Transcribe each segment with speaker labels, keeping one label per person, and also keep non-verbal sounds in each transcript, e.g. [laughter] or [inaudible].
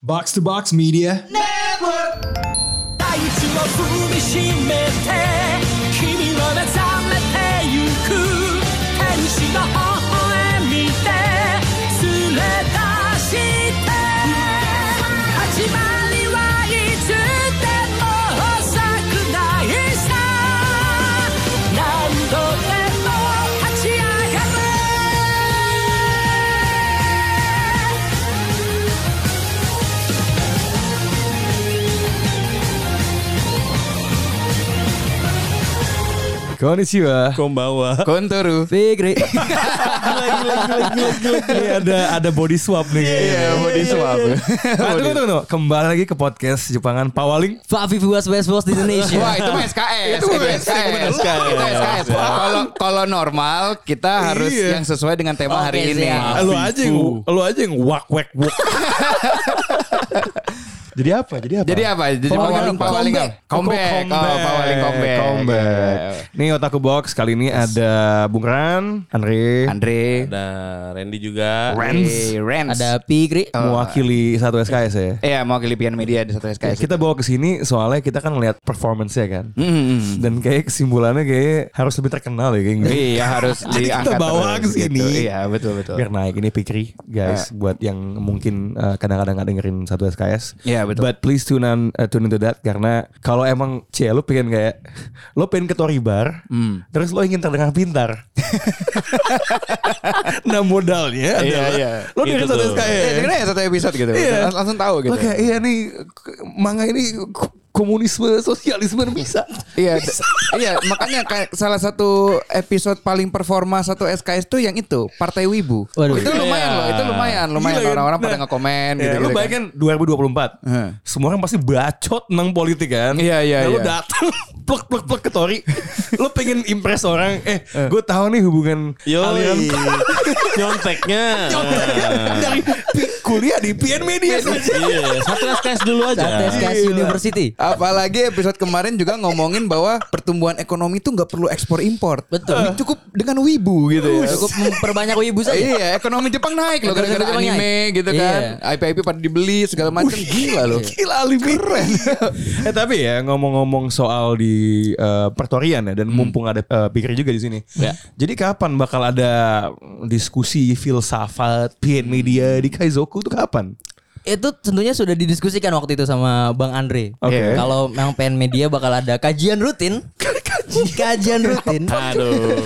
Speaker 1: Box to Box Media
Speaker 2: 大地を踏みしめて君は目覚めてゆく天使の微笑みで連れ出して始まりはいつでも遅くないさ何度でも立ち上がる
Speaker 3: Konnichiwa
Speaker 4: Kombawa.
Speaker 3: Kontoru Fikri [laughs]
Speaker 4: Ini ada ada body swap nih.
Speaker 3: Iya [laughs] body swap Nah, Tunggu tunggu tunggu Kembali lagi ke podcast Jepangan Pawaling
Speaker 5: Fafi Buas West Bos di Indonesia.
Speaker 6: Wah itu mah SKS
Speaker 3: Itu SKS.
Speaker 6: bener.
Speaker 3: SKS.
Speaker 6: Itu SKS Kalau kalau normal kita harus
Speaker 3: Iya.
Speaker 6: yang sesuai dengan tema
Speaker 5: Oke,
Speaker 6: hari ini
Speaker 5: siap.
Speaker 4: Lu aja yang lu aja yang wak wak
Speaker 3: [laughs]
Speaker 4: wak.
Speaker 3: Jadi apa? Jadi apa?
Speaker 6: Jadi apa? Jadi pawaling pawaling apa? Comeback Oh pawaling comeback Iya.
Speaker 3: Comeback Nih Otaku Box Kali ini ada Bung Ran Andre
Speaker 6: Andre
Speaker 4: Ada Randy juga.
Speaker 3: Rans.
Speaker 6: Eh, Rans
Speaker 5: Ada Pikri.
Speaker 3: Mewakili satu SKS ya
Speaker 6: Eh, Iya mau pilihan media di satu SKS
Speaker 3: Iya, Kita bawa ke sini soalnya kita kan lihat performance-nya kan
Speaker 6: Hmm.
Speaker 3: Dan kayak kesimpulannya kayak harus lebih terkenal ya kayak
Speaker 6: Iya harus diangkat
Speaker 3: bawa
Speaker 6: terus
Speaker 3: ke sini.
Speaker 6: gitu. Iya betul betul Ah.
Speaker 3: biar naik ini pikri guys buat yang mungkin uh, kadang-kadang nggak dengerin satu SKS.
Speaker 6: Iya, betul.
Speaker 3: But please tune on uh, tune into that karena kalau emang cie lu pengen kayak lo pengen ke Tory Bar,
Speaker 6: Hmm.
Speaker 3: terus lo ingin terdengar pintar.
Speaker 6: [laughs]
Speaker 3: nah
Speaker 6: Iya,
Speaker 3: modalnya adalah
Speaker 6: iya.
Speaker 3: lo dengerin
Speaker 4: Gitu
Speaker 3: satu
Speaker 4: tuh.
Speaker 3: SKS.
Speaker 6: Eh, dengerin ya satu episode gitu Lang- Langsung tahu gitu
Speaker 3: Lo Iya. kayak iya nih k- manga ini k- komunisme sosialisme bisa.
Speaker 6: Iya, d- iya makanya kayak salah satu episode paling performa satu SKS tuh yang itu Partai Wibu.
Speaker 5: Waduh.
Speaker 6: Itu lumayan loh, itu lumayan, lumayan
Speaker 3: Gila, kan?
Speaker 6: orang-orang pada
Speaker 3: Nah,
Speaker 6: ngekomen
Speaker 3: Iya,
Speaker 6: gitu-gitu.
Speaker 3: lo
Speaker 6: kan.
Speaker 3: bayangin 2024.
Speaker 6: Heeh.
Speaker 3: Semua orang pasti bacot tentang politik kan.
Speaker 6: Iya, iya,
Speaker 3: Nah, Lo
Speaker 6: iya.
Speaker 3: datang [laughs] plek plek plek ke
Speaker 6: [laughs]
Speaker 3: Tori. lo pengen impress orang. Eh, gue tahu nih hubungan
Speaker 4: Yo.
Speaker 3: [laughs] aliran
Speaker 4: Nyonteknya.
Speaker 3: dari pi- kuliah di PN Media saja.
Speaker 4: Iya, satu SKS dulu aja.
Speaker 5: Satu SKS University.
Speaker 6: Apalagi episode kemarin juga ngomongin bahwa pertumbuhan ekonomi tuh nggak perlu ekspor impor.
Speaker 5: Betul.
Speaker 6: Cukup dengan Wibu gitu ya.
Speaker 5: Cukup memperbanyak wibu saja.
Speaker 6: Iya, ekonomi Jepang naik loh
Speaker 5: Ekonomi
Speaker 6: gara-gara
Speaker 5: Jepang
Speaker 6: anime
Speaker 5: naik.
Speaker 6: gitu kan. IP-IP pada dibeli segala macam gila loh.
Speaker 3: Gila Ali Keren. [laughs] eh tapi ya ngomong-ngomong soal di eh, pertorian ya
Speaker 6: Hmm.
Speaker 3: dan mumpung ada eh, pikir juga di sini.
Speaker 6: Ya.
Speaker 3: Jadi kapan bakal ada diskusi filsafat PN Media di Kaizoku tuh kapan?
Speaker 5: Itu tentunya sudah didiskusikan waktu itu sama Bang Andre. Iya.
Speaker 3: Oke.
Speaker 5: Kalau memang pengen media bakal ada kajian rutin. kajian rutin.
Speaker 4: Aduh.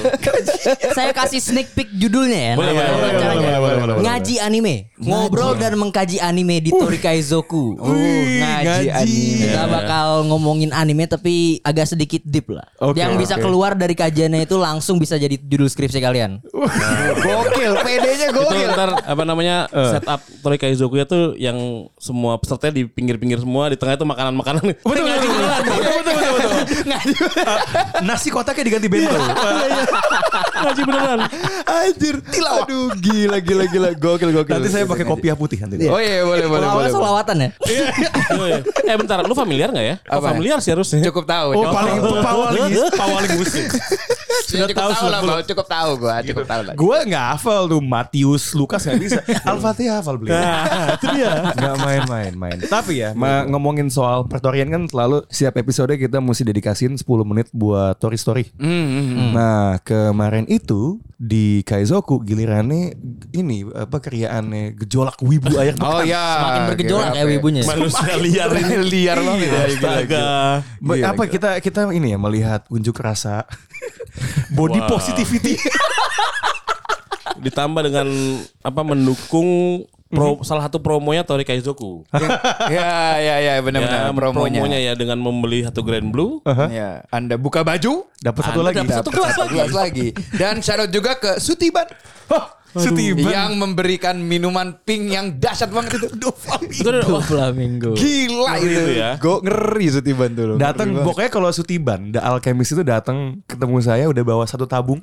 Speaker 5: [laughs] Saya kasih sneak peek judulnya ya.
Speaker 4: Boleh,
Speaker 5: nama
Speaker 4: boleh, boleh,
Speaker 5: acaranya.
Speaker 4: boleh, boleh, boleh, boleh.
Speaker 5: Ngaji anime, ngobrol dan mengkaji anime di Torikai Zoku.
Speaker 3: Wih,
Speaker 6: ngaji anime.
Speaker 4: Iya.
Speaker 5: Kita bakal ngomongin anime tapi agak sedikit deep lah.
Speaker 3: Oke,
Speaker 5: Yang bisa
Speaker 3: oke.
Speaker 5: keluar dari kajiannya itu langsung bisa jadi judul skripsi kalian.
Speaker 6: Gokil, PD-nya
Speaker 4: Itu
Speaker 6: gokil.
Speaker 4: ntar apa namanya
Speaker 6: Eh.
Speaker 4: setup Tori Kaizoku ya tuh yang semua peserta di pinggir-pinggir semua di tengah itu makanan-makanan.
Speaker 3: Betul,
Speaker 4: Tengah
Speaker 3: betul,
Speaker 4: di jalan.
Speaker 3: betul, betul, betul, betul. Nasi kotaknya diganti bento.
Speaker 4: Ngaji beneran.
Speaker 3: [laughs] Anjir, tilawah.
Speaker 6: Aduh, gila gila gila gokil gokil.
Speaker 3: Nanti saya pakai Eh, kopiah putih nanti.
Speaker 6: Oh iya, boleh boleh
Speaker 5: Awalnya
Speaker 6: boleh. boleh.
Speaker 5: solawatan ya.
Speaker 4: Iya. eh bentar, lu familiar gak ya? Oh,
Speaker 6: Apa?
Speaker 4: familiar sih harusnya.
Speaker 6: Cukup tahu.
Speaker 3: Oh,
Speaker 6: cukup
Speaker 3: paling
Speaker 6: tahu.
Speaker 3: pawaling pawaling musik.
Speaker 6: Sudah cukup tahu, lah, Bang. cukup tahu gua, cukup tahu lah.
Speaker 3: Gue nggak hafal tuh Matius Lukas nggak [laughs] bisa. Al-Fatihah hafal beliau. Nah, itu dia. Nggak main-main main. Tapi ya ma- ngomongin soal Pertorian kan selalu setiap episode kita mesti dedikasiin 10 menit buat Tori Story.
Speaker 4: Hmm,
Speaker 3: Nah kemarin itu di Kaizoku gilirannya ini apa kerjaannya gejolak wibu air
Speaker 6: Oh
Speaker 3: pekan.
Speaker 6: ya.
Speaker 5: Makin bergejolak
Speaker 6: gila,
Speaker 5: kayak
Speaker 6: apa
Speaker 5: wibunya.
Speaker 4: Manusia liar ini.
Speaker 6: Liar banget ya. gila,
Speaker 4: Astaga.
Speaker 6: gila.
Speaker 3: Ba-
Speaker 6: Gila,
Speaker 3: apa
Speaker 6: gila.
Speaker 3: kita kita ini ya melihat unjuk rasa [laughs] body
Speaker 4: Wow.
Speaker 3: positivity
Speaker 4: Ditambah dengan apa mendukung pro-
Speaker 3: Hmm.
Speaker 4: salah satu promonya Tori Kaizoku.
Speaker 6: Ya ya ya benar-benar
Speaker 4: ya,
Speaker 6: promonya.
Speaker 4: promonya ya dengan membeli satu Grand Blue.
Speaker 3: Eh.
Speaker 6: Ya, Anda buka baju,
Speaker 3: dapat satu lagi
Speaker 6: dapat
Speaker 5: gelas
Speaker 6: satu gelas lagi. Dan syarat juga ke Sutiban
Speaker 3: Hah, setiban
Speaker 6: yang memberikan minuman pink yang dahsyat banget itu. Duh,
Speaker 4: Itu udah wah,
Speaker 5: Flamingo.
Speaker 6: gila
Speaker 4: Ngeri
Speaker 6: itu.
Speaker 4: itu ya.
Speaker 6: Gue ngeri Sutiban tuh. loh. Iya,
Speaker 3: datang
Speaker 6: Ngeri banget.
Speaker 3: pokoknya kalau sutiban the alchemist itu datang ketemu saya udah bawa satu tabung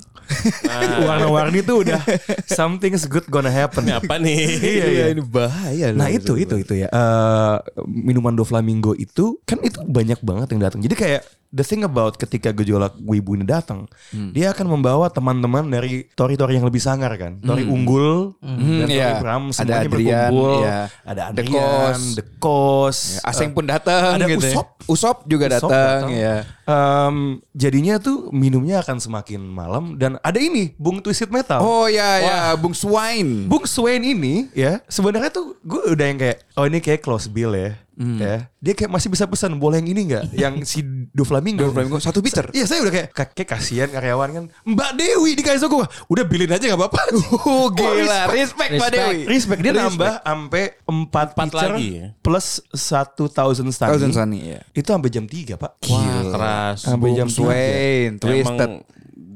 Speaker 6: Ah.
Speaker 3: [laughs] warna-warni tuh udah something is good gonna happen
Speaker 4: ini apa nih?
Speaker 3: [laughs] Iya, iya.
Speaker 6: ini bahaya loh.
Speaker 3: Nah itu itu itu ya Eh, minuman do flamingo itu kan itu banyak banget yang datang. Jadi kayak the thing about ketika gejolak wibu ini datang,
Speaker 6: Hmm.
Speaker 3: dia akan membawa teman-teman dari tori-tori yang lebih sangar kan. Tori unggul, dan tori
Speaker 6: Hmm. iya.
Speaker 3: Bram,
Speaker 6: Ada
Speaker 3: semuanya
Speaker 6: Adrian,
Speaker 3: berkumpul.
Speaker 6: iya.
Speaker 3: Ada
Speaker 6: The
Speaker 3: Adrian,
Speaker 6: Kos. Iya,
Speaker 3: The Kos.
Speaker 6: Aseng pun datang
Speaker 3: ada
Speaker 6: gitu. ya.
Speaker 3: Usop.
Speaker 6: Usop juga
Speaker 3: Usop
Speaker 6: datang ya.
Speaker 3: Em, jadinya tuh minumnya akan semakin malam dan ada ini Bung Twisted Metal.
Speaker 6: Oh ya ya, Bung Swine.
Speaker 3: Bung Swain ini ya sebenarnya tuh gue udah yang kayak oh ini kayak close bill ya.
Speaker 6: Hmm.
Speaker 3: Ya, dia kayak masih bisa pesan boleh yang ini nggak? Yang si Do
Speaker 6: [laughs]
Speaker 3: Flamingo.
Speaker 6: Doflamingo, satu pitcher.
Speaker 3: Iya, saya udah kayak "Kak- kayak kasihan karyawan kan. Mbak Dewi di Kaiso gue. Udah bilin aja nggak apa-apa.
Speaker 6: [laughs] Oh,
Speaker 3: [laughs]
Speaker 6: gila, respect, Pak
Speaker 5: Respect.
Speaker 6: Dewi.
Speaker 3: Respect dia nambah sampai 4
Speaker 4: Empat
Speaker 3: pitcher
Speaker 4: lagi ya?
Speaker 3: plus 1000 stani.
Speaker 6: 1000 stani, iya.
Speaker 3: Itu sampai jam 3, Pak.
Speaker 4: Wah keras.
Speaker 3: Sampai jam
Speaker 6: Bung Swine, Twisted.
Speaker 4: Emang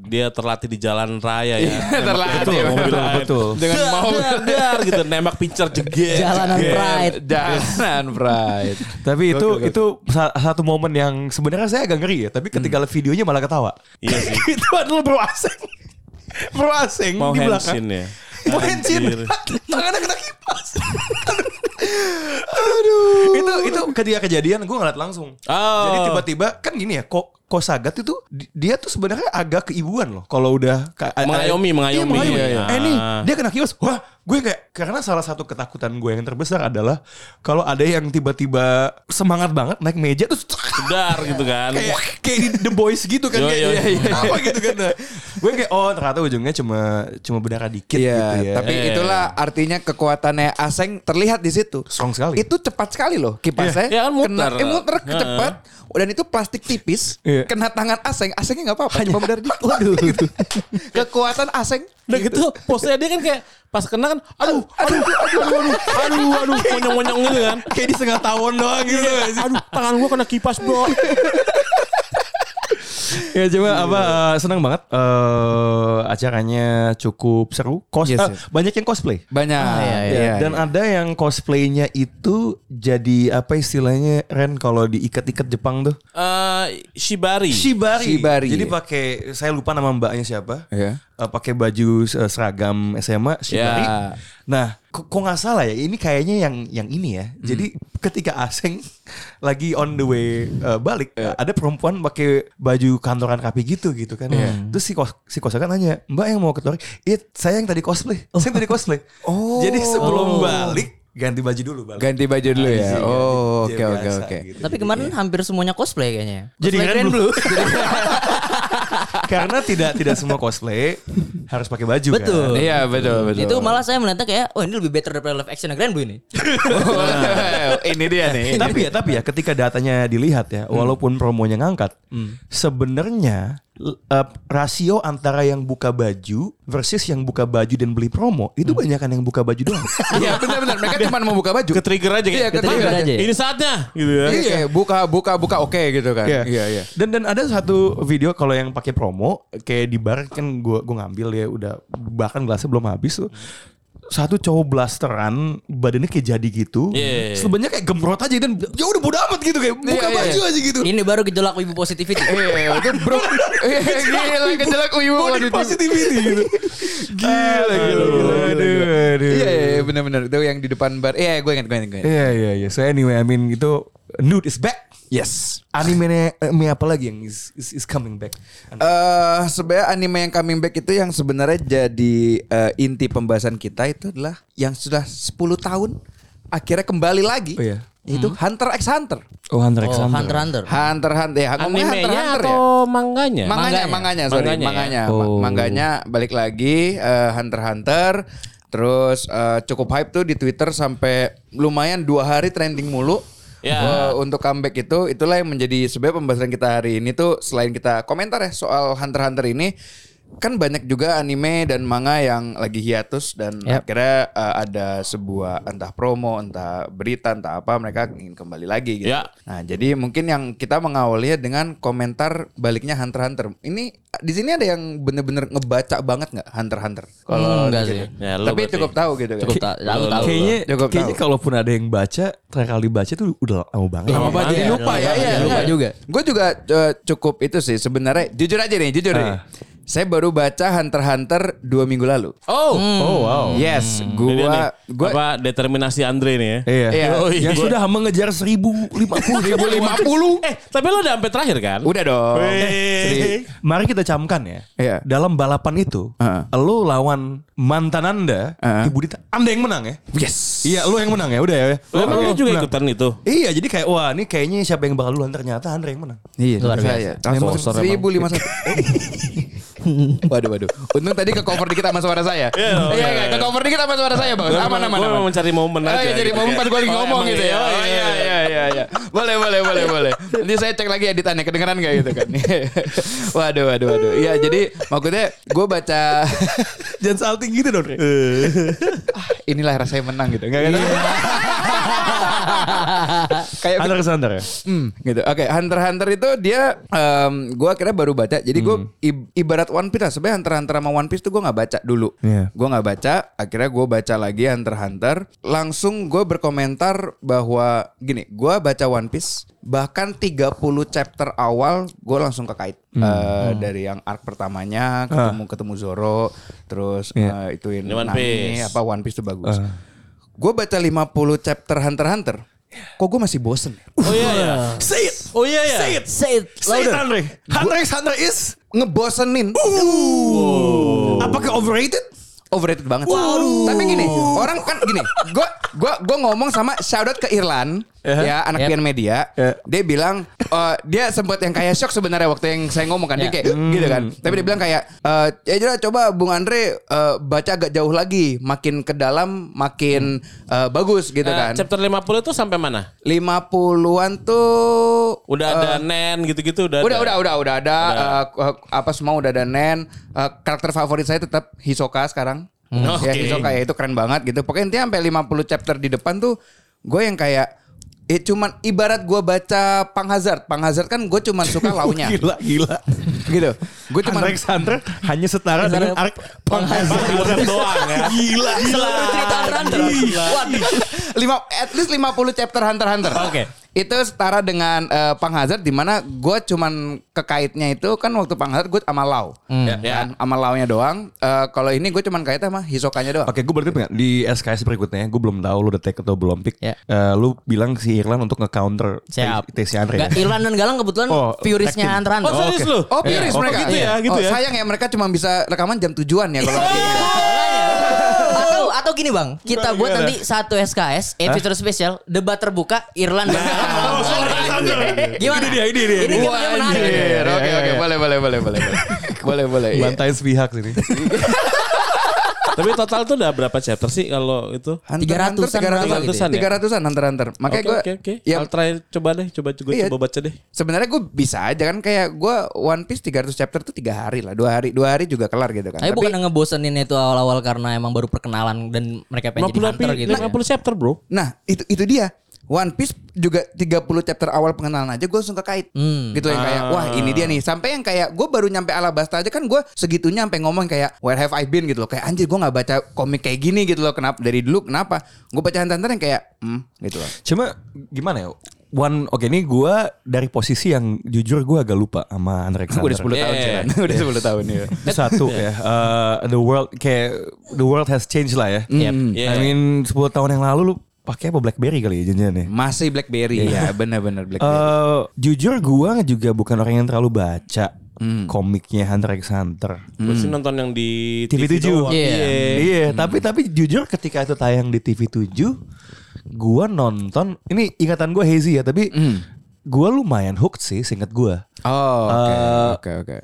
Speaker 4: dia terlatih di jalan raya ya. Nembak
Speaker 6: terlatih,
Speaker 4: betul,
Speaker 6: betul,
Speaker 4: mobil lain.
Speaker 3: Iya, betul.
Speaker 6: [laughs]
Speaker 3: Iya
Speaker 6: Dengan
Speaker 4: Dar,
Speaker 6: mau
Speaker 4: dar, dar, gitu nembak pincer jeger.
Speaker 5: Jalanan
Speaker 4: jeger.
Speaker 5: pride.
Speaker 6: Jangan pride.
Speaker 3: Tapi itu itu sa- satu momen yang sebenarnya saya agak ngeri ya, tapi ketika lihat videonya malah ketawa. [laughs]
Speaker 4: Iya sih.
Speaker 3: itu adalah bro asing. Bro asing
Speaker 4: Mau
Speaker 3: di belakang.
Speaker 4: hensin ya.
Speaker 3: Mau hensin.
Speaker 4: Anjir.
Speaker 3: [laughs] Tangannya kena kipas. [laughs] Aduh. Itu itu ketika kejadian gue ngeliat langsung.
Speaker 4: Oh.
Speaker 3: Jadi tiba-tiba kan gini ya, kok Kosagat itu di- dia tuh sebenarnya agak keibuan loh kalau udah ka-
Speaker 4: Mengayomi,
Speaker 3: Iya,
Speaker 4: mengayomi. Iya, iya.
Speaker 3: Eh nih,
Speaker 4: Ah.
Speaker 3: dia kena kios wah gue kayak karena salah satu ketakutan gue yang terbesar adalah kalau ada yang tiba-tiba semangat banget naik meja terus [laughs]
Speaker 4: Dar gitu kan.
Speaker 3: kayak kayak di The Boys gitu kan
Speaker 4: Yo,
Speaker 3: kayak,
Speaker 4: yo,
Speaker 3: [laughs] iya,
Speaker 4: yo.
Speaker 3: iya, apa gitu kan Nah, gue kayak oh ternyata ujungnya cuma cuma berdarah dikit
Speaker 6: Iya,
Speaker 3: gitu ya
Speaker 6: tapi
Speaker 4: Iya.
Speaker 6: itulah artinya kekuatannya Aseng terlihat di situ.
Speaker 3: Strong sekali.
Speaker 6: Itu cepat sekali loh kipasnya.
Speaker 4: Iya. Iya, kan muter.
Speaker 6: Kena, eh, muter
Speaker 4: Heeh.
Speaker 6: cepat. Dan itu plastik tipis.
Speaker 3: Iya.
Speaker 6: Kena tangan Aseng. Asengnya nggak apa-apa. Cuma benar
Speaker 3: [laughs]
Speaker 6: dikit. Gitu. Kekuatan Aseng.
Speaker 4: Udah gitu posnya dia kan kayak pas kena kan aduh aduh aduh aduh aduh aduh aduh monyong-monyong gitu kan. Iya,
Speaker 3: kayak di setengah tahun doang gitu kan.
Speaker 4: Aduh tangan gua kena kipas
Speaker 3: [laughs]
Speaker 4: bro.
Speaker 3: ya cuma apa eh, senang banget eh, acaranya cukup seru Cos-
Speaker 6: Yes,
Speaker 3: eh,
Speaker 6: yes.
Speaker 3: banyak yang cosplay
Speaker 6: Banyak.
Speaker 5: iya, iya,
Speaker 6: Iya,
Speaker 3: Ah, Dan
Speaker 6: iya.
Speaker 3: ada yang cosplaynya itu jadi apa istilahnya Ren kalau diikat-ikat Jepang tuh?
Speaker 4: Eh Shibari.
Speaker 3: Shibari.
Speaker 6: Shibari.
Speaker 3: Jadi pakai saya lupa nama mbaknya siapa.
Speaker 6: Iya.
Speaker 3: Eh, pakai baju eh, seragam SMA Shibari.
Speaker 6: Ya.
Speaker 3: Nah, kok kok nggak salah ya ini kayaknya yang yang ini ya.
Speaker 6: Hmm.
Speaker 3: Jadi ketika Aseng [laughs] lagi on the way eh, balik,
Speaker 6: Iya.
Speaker 3: ada perempuan pakai baju kantoran rapi gitu gitu kan.
Speaker 6: Iya.
Speaker 3: Terus si kos si kosakan nanya, "Mbak yang mau ke Tori?" "Iya, saya yang tadi cosplay. Saya yang tadi cosplay."
Speaker 6: Oh.
Speaker 3: Jadi sebelum balik ganti baju dulu balik.
Speaker 6: Ganti baju dulu ya.
Speaker 3: Iya,
Speaker 6: Oh,
Speaker 3: dia
Speaker 6: oke oke
Speaker 3: biasa
Speaker 6: oke.
Speaker 3: gitu.
Speaker 5: Tapi kemarin hampir semuanya cosplay kayaknya. ya.
Speaker 3: Jadi
Speaker 5: Cosplay
Speaker 3: keren
Speaker 5: Grand
Speaker 3: [laughs] Blue. Karena tidak tidak semua cosplay harus pakai baju kan.
Speaker 5: Betul.
Speaker 6: Iya, betul betul. [laughs]
Speaker 3: [laughs]
Speaker 5: Itu malah saya melihatnya kayak, oh ini lebih better daripada live action Grand Blue ini.
Speaker 6: ini dia nih.
Speaker 3: tapi ya tapi ya ketika datanya dilihat ya walaupun promonya ngangkat sebenarnya l- eh, rasio antara yang buka baju versus yang buka baju dan beli promo itu banyakan yang buka baju doang
Speaker 6: Iya, benar benar. Mereka cuma mau buka baju.
Speaker 4: Ke trigger aja
Speaker 6: Iya,
Speaker 4: kayak.
Speaker 6: ke trigger
Speaker 5: aja ya?
Speaker 4: Ini saatnya gitu ya.
Speaker 6: Iya, kayak buka buka buka oke gitu kan.
Speaker 3: Iya.
Speaker 6: Iya, iya.
Speaker 3: Dan dan ada satu video kalau yang pakai promo kayak di bar kan gua gua ngambil ya udah bahkan gelasnya belum habis tuh. Satu cowok blasteran badannya kayak jadi gitu.
Speaker 4: Iya.
Speaker 3: Sebenarnya kayak gemrot aja dan ya udah bodo amat gitu kayak buka
Speaker 6: Iya, iya,
Speaker 3: baju
Speaker 6: iya.
Speaker 3: aja gitu.
Speaker 5: Ini baru gejolak wibu
Speaker 6: [laughs]
Speaker 5: positivity.
Speaker 6: Eh, itu
Speaker 3: [laughs]
Speaker 6: bro. Eh, gila kejelak uyuh.
Speaker 3: Body positivity gitu.
Speaker 6: Gila, gila, gila,
Speaker 3: Aduh, aduh.
Speaker 6: Iya, iya, iya, benar-benar. Itu yang di depan bar. Iya, gue ingat, gue ingat, gue ingat.
Speaker 3: Iya iya iya. So anyway, I mean itu nude is back.
Speaker 6: Yes.
Speaker 3: Anime anime apa lagi yang is, is, is coming back?
Speaker 6: Eh, sebenarnya anime yang coming back itu yang sebenarnya jadi eh, inti pembahasan kita itu adalah yang sudah 10 tahun akhirnya kembali lagi.
Speaker 3: Oh, iya.
Speaker 6: Itu Hunter x Hunter.
Speaker 3: Oh Hunter
Speaker 5: Oh, Hunter Hunter.
Speaker 6: Hunter Hunter ya, ngomongnya Hunter
Speaker 4: Animenya
Speaker 6: Hunter ya.
Speaker 4: atau manganya?
Speaker 6: Manganya,
Speaker 5: Manganya.
Speaker 6: manganya, sorry,
Speaker 4: Manganya ya?
Speaker 6: manganya, Ma- manganya balik lagi eh, Hunter x Hunter. Terus eh, cukup hype tuh di Twitter sampai lumayan dua hari trending mulu. Eh,
Speaker 4: Ya.
Speaker 6: untuk comeback itu itulah yang menjadi sebenarnya pembahasan kita hari ini tuh selain kita komentar ya soal Hunter x Hunter ini kan banyak juga anime dan manga yang lagi hiatus dan
Speaker 5: Yap.
Speaker 6: akhirnya eh, ada sebuah entah promo entah berita entah apa mereka ingin kembali lagi gitu.
Speaker 4: Ya.
Speaker 6: Nah, jadi mungkin yang kita mengawalinya dengan komentar baliknya Hunter x Hunter. Ini di sini ada yang bener-bener ngebaca banget nggak Hunter x Hunter?
Speaker 5: Hmm, enggak
Speaker 6: gitu.
Speaker 5: sih.
Speaker 4: Ya, lo
Speaker 6: Tapi
Speaker 4: berarti.
Speaker 6: cukup tahu gitu.
Speaker 5: Cukup tak, aku tahu.
Speaker 3: Kayaknya
Speaker 6: Cukup
Speaker 3: kayaknya
Speaker 6: tahu.
Speaker 3: kalaupun ada yang baca terakhir kali baca tuh udah lama banget.
Speaker 6: Lama banget jadi
Speaker 5: Iya,
Speaker 6: lupa ya.
Speaker 5: lama banget,
Speaker 6: Iya,
Speaker 5: jadi lupa juga.
Speaker 6: Gue juga eh, cukup itu sih sebenarnya jujur aja nih, jujur nih. Saya baru baca Hunter x Hunter dua minggu lalu.
Speaker 4: Oh,
Speaker 3: Oh wow.
Speaker 6: Yes,
Speaker 4: Ini
Speaker 6: Hmm.
Speaker 4: nih,
Speaker 6: gua gua
Speaker 4: apa determinasi Andre nih ya.
Speaker 3: Iya.
Speaker 6: Iya.
Speaker 4: Yoi.
Speaker 3: Yang sudah mengejar
Speaker 4: [laughs]
Speaker 3: 1050
Speaker 6: 1050.
Speaker 4: Eh, tapi lo udah sampai terakhir kan?
Speaker 6: Udah dong. Seri-
Speaker 3: Mari kita camkan ya.
Speaker 6: Iya.
Speaker 3: Dalam balapan itu,
Speaker 6: Heeh.
Speaker 3: lo lawan mantan Anda,
Speaker 6: Heeh.
Speaker 3: Ibu Dita, Anda yang menang ya.
Speaker 6: Yes.
Speaker 3: Iya, lo yang menang ya. Udah ya.
Speaker 4: Lo emang
Speaker 3: Oke.
Speaker 4: lu juga
Speaker 3: Menang.
Speaker 4: ikutan itu.
Speaker 3: Iya, jadi kayak wah ini kayaknya siapa yang bakal duluan ternyata Andre yang menang.
Speaker 6: Iya,
Speaker 5: Luar biasa.
Speaker 6: saya. Langsung
Speaker 3: Sponsor
Speaker 6: 1051. Oh. [laughs] waduh, waduh. Untung tadi ke cover dikit sama suara saya. Iya,
Speaker 4: oke,
Speaker 6: iya,
Speaker 4: oke.
Speaker 6: Ke cover dikit sama suara saya, Bang.
Speaker 4: Gua
Speaker 6: Aman,
Speaker 4: emang-
Speaker 6: aman,
Speaker 4: gua
Speaker 6: aman.
Speaker 4: emang mencari momen
Speaker 6: Oh,
Speaker 4: aja
Speaker 6: iya, jadi
Speaker 4: gitu
Speaker 6: momen
Speaker 4: ya.
Speaker 6: pas gue lagi
Speaker 4: Oh,
Speaker 6: ngomong
Speaker 4: emang
Speaker 6: gitu
Speaker 4: iya,
Speaker 6: ya. Oh,
Speaker 4: iya,
Speaker 6: iya, iya, iya, iya. Boleh, boleh, boleh, boleh. Nanti saya cek lagi editannya, kedengeran gak gitu kan. [laughs] waduh, waduh, waduh. Iya, jadi maksudnya gue baca
Speaker 3: [laughs] Jangan salting gitu dong.
Speaker 6: [laughs] Ah, inilah rasanya menang gitu. [laughs] Enggak
Speaker 3: Iya.
Speaker 6: gitu. Kayak
Speaker 3: Andre ke Sandra ya.
Speaker 6: Hmm, gitu. Oke, Hunter x Hunter itu dia em, gua akhirnya baru baca. Jadi gua
Speaker 3: Hmm.
Speaker 6: ib- ibarat One Piece lah. Sebenarnya Hunter x Hunter sama One Piece tuh gua nggak baca dulu.
Speaker 3: Iya.
Speaker 6: Gua nggak baca, akhirnya gua baca lagi Hunter x Hunter. Langsung gua berkomentar bahwa gini, gua baca One Piece bahkan 30 chapter awal gua langsung kekait
Speaker 3: Hmm.
Speaker 6: Eh, dari yang arc pertamanya ketemu ketemu Zoro, terus
Speaker 3: Ah. Iya. Ah.
Speaker 6: eh, ituin
Speaker 4: Ini One
Speaker 6: Nami,
Speaker 4: Piece.
Speaker 6: apa One Piece tuh bagus. Gua baca 50 chapter Hunter x Hunter.
Speaker 3: Iya.
Speaker 6: Kok gue masih bosen ya?
Speaker 4: Oh iya ya.
Speaker 3: Say it.
Speaker 4: Oh iya ya.
Speaker 3: Say it.
Speaker 5: Say it
Speaker 3: Say it
Speaker 5: louder.
Speaker 3: Andre. Andre is Andre is
Speaker 6: ngebosenin. Oh.
Speaker 3: apakah overrated?
Speaker 6: Overrated banget. Tapi gini, orang kan gini, gua gua gua ngomong sama shoutout ke Irlan ya anak
Speaker 5: Yep.
Speaker 6: pian media.
Speaker 3: Yeah.
Speaker 6: Dia bilang eh, dia sempat yang kayak shock sebenarnya waktu yang saya ngomong kan dia
Speaker 5: Yeah.
Speaker 6: kayak gitu kan. Tapi dia bilang kayak eh, ya udah coba Bung Andre eh, baca agak jauh lagi, makin ke dalam makin eh, bagus gitu
Speaker 4: Eh,
Speaker 6: kan.
Speaker 4: chapter 50 itu sampai mana?
Speaker 6: 50-an tuh
Speaker 4: Udah ada
Speaker 6: Eh.
Speaker 4: Nen gitu-gitu udah.
Speaker 6: Udah,
Speaker 4: ada.
Speaker 6: udah, udah, udah ada eh, eh, apa semua udah ada Nen. Eh, karakter favorit saya tetap Hisoka sekarang. Ya
Speaker 4: Hmm. Oke.
Speaker 6: Hisoka ya itu keren banget gitu. Pokoknya intinya sampai 50 chapter di depan tuh gue yang kayak eh cuman ibarat gue baca Pang Hazard. Pang Hazard kan gue cuman
Speaker 4: [laughs]
Speaker 6: suka launya
Speaker 3: Gila gila.
Speaker 6: gitu. Gue cuman
Speaker 3: Andre is Andre hanya setara dengan Ark
Speaker 4: Bang, di WhatsApp doang ya.
Speaker 3: Gila. Gila.
Speaker 5: Seluruh cerita Hunter. Waduh.
Speaker 6: lima at least 50 chapter Hunter x Hunter.
Speaker 4: Oke.
Speaker 6: Itu setara dengan eh, Pang Hazard di mana gue cuman kekaitnya itu kan waktu Pang Hazard gue sama Lau.
Speaker 4: Ya, ya.
Speaker 6: Kan, sama Launya doang. Eh, kalau ini gue cuman kaitnya sama Hisokanya doang.
Speaker 3: Oke, gue berarti nggak di SKS berikutnya, gue belum tahu lu udah take atau belum pick.
Speaker 5: Ya.
Speaker 3: Eh, lu bilang si Irlan untuk nge-counter
Speaker 5: Siap.
Speaker 3: T- TC Andre. ya?
Speaker 5: Nggak, Irlan dan Galang kebetulan
Speaker 3: Oh,
Speaker 5: purisnya
Speaker 3: tag team.
Speaker 5: Hunter x
Speaker 4: Oh,
Speaker 5: Hunter.
Speaker 4: serius lu?
Speaker 6: Oh, piris
Speaker 4: Oh,
Speaker 6: mereka.
Speaker 4: gitu ya,
Speaker 6: Iya.
Speaker 4: gitu
Speaker 6: Oh,
Speaker 4: ya. Iya.
Speaker 6: Sayang ya mereka cuma bisa rekaman jam tujuan ya kalau
Speaker 5: Oh, atau atau gini bang kita buat
Speaker 3: gimana?
Speaker 5: nanti satu SKS episode spesial eh, debat terbuka Irland dan Galang
Speaker 3: [laughs]
Speaker 5: melawan Bung Andre. gimana
Speaker 3: Nah, Ini dia, ini dia.
Speaker 5: ini game-nya menarik
Speaker 6: Anjir,
Speaker 5: Iya,
Speaker 6: Oke oke boleh boleh boleh boleh. Boleh boleh. iya.
Speaker 3: Bantai sepihak sini.
Speaker 4: Tapi total tuh udah berapa chapter sih kalau itu?
Speaker 6: Hunter, Hunter,
Speaker 5: 300-an berapa gitu
Speaker 4: ya?
Speaker 6: 300-an 300-an Hunter Hunter. Makanya
Speaker 4: Oke
Speaker 6: gue
Speaker 4: oke oke.
Speaker 6: ya
Speaker 4: I'll try coba deh, coba coba,
Speaker 6: Iya.
Speaker 4: coba baca deh.
Speaker 6: sebenarnya gue bisa aja kan kayak gue One Piece 300 chapter tuh 3 hari lah. 2 hari 2 hari juga kelar gitu kan.
Speaker 5: tapi bukan ngebosenin itu awal-awal karena emang baru perkenalan dan mereka pengen
Speaker 4: 50
Speaker 5: jadi hunter
Speaker 4: pi-
Speaker 5: gitu ya.
Speaker 4: 50 chapter, Bro.
Speaker 6: Nah itu itu dia One Piece juga 30 chapter awal pengenalan aja gue langsung kekait
Speaker 5: Hmm.
Speaker 6: Gitu yang kayak wah ini dia nih Sampai yang kayak gue baru nyampe Alabasta aja kan gue segitunya sampai ngomong kayak Where have I been gitu loh Kayak anjir gue gak baca komik kayak gini gitu loh Kenapa dari dulu kenapa Gue baca Hunter x Hunter yang kayak hmm gitu loh
Speaker 3: Cuma gimana ya? One, oke ini gue dari posisi yang jujur gue agak lupa sama Andre
Speaker 6: Gue [laughs] udah 10 tahun
Speaker 5: Iya,
Speaker 3: Alexander.
Speaker 4: Yeah.
Speaker 6: jalan [laughs] Udah 10 tahun ya
Speaker 3: Itu satu ya. Eh, the world kayak the world has changed lah ya. I
Speaker 4: Yeah.
Speaker 3: mean 10 tahun yang lalu lu pakai apa BlackBerry kali ya janjian
Speaker 4: Mm,
Speaker 3: nih.
Speaker 6: Masih Blackberry Ya bener-bener Blackberry
Speaker 3: Eh jujur gua juga bukan orang yang terlalu baca
Speaker 4: Mm.
Speaker 3: komiknya Hunter x Hunter.
Speaker 6: Hmm.
Speaker 4: Gue sih nonton yang di
Speaker 3: TV7.
Speaker 4: doang. Mm.
Speaker 5: Iya.
Speaker 3: Iya, tapi tapi jujur ketika itu tayang di TV7, gua nonton ini ingatan gua hazy ya, tapi
Speaker 4: Mm.
Speaker 3: gua lumayan hooked sih seingat gua.
Speaker 6: Oh oke
Speaker 3: Eh,
Speaker 6: oke oke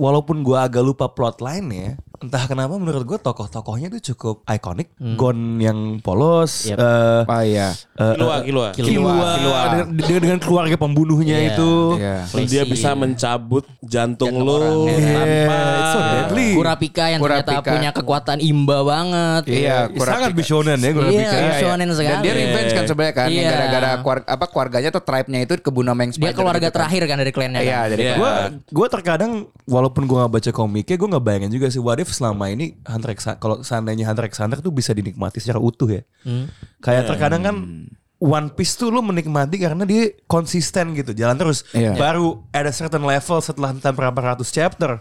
Speaker 3: Walaupun gua agak lupa plotline ya, entah kenapa menurut gua tokoh-tokohnya itu cukup ikonik. Gon yang polos,
Speaker 5: Yep.
Speaker 3: eh,
Speaker 6: Oh iya
Speaker 4: Kilua, Kilua.
Speaker 3: Killua, dengan, dengan, dengan keluarga pembunuhnya
Speaker 5: Iya.
Speaker 3: itu.
Speaker 6: Iya
Speaker 4: Dia bisa mencabut jantung lo
Speaker 3: orang. Iya, it's so deadly.
Speaker 5: Kurapika yang ternyata
Speaker 6: Kurapika.
Speaker 5: punya kekuatan imba banget
Speaker 6: Iya kurang
Speaker 3: Sangat bishonen ya gue
Speaker 5: Iya,
Speaker 3: pikir.
Speaker 5: shonen
Speaker 6: Dan
Speaker 5: sekali.
Speaker 6: dia revenge kan sebenarnya kan yang
Speaker 5: Iya.
Speaker 6: gara-gara keluarga, apa keluarganya atau tribe-nya itu kebunuh sama yang
Speaker 5: dia
Speaker 6: spider
Speaker 5: keluarga
Speaker 6: gitu kan.
Speaker 5: terakhir kan dari kliennya
Speaker 6: Iya,
Speaker 5: kan?
Speaker 6: dari
Speaker 4: Iya.
Speaker 3: Gue gue terkadang walaupun gue nggak baca komiknya, gue nggak bayangin juga sih what if selama ini
Speaker 4: Hmm. Iya.
Speaker 3: Hunter x kalau seandainya Hunter x Hunter tuh bisa dinikmati secara utuh ya. Kayak terkadang kan One Piece tuh lu menikmati karena dia konsisten gitu, jalan terus.
Speaker 6: Iya.
Speaker 3: Baru at a certain level setelah entah berapa ratus chapter,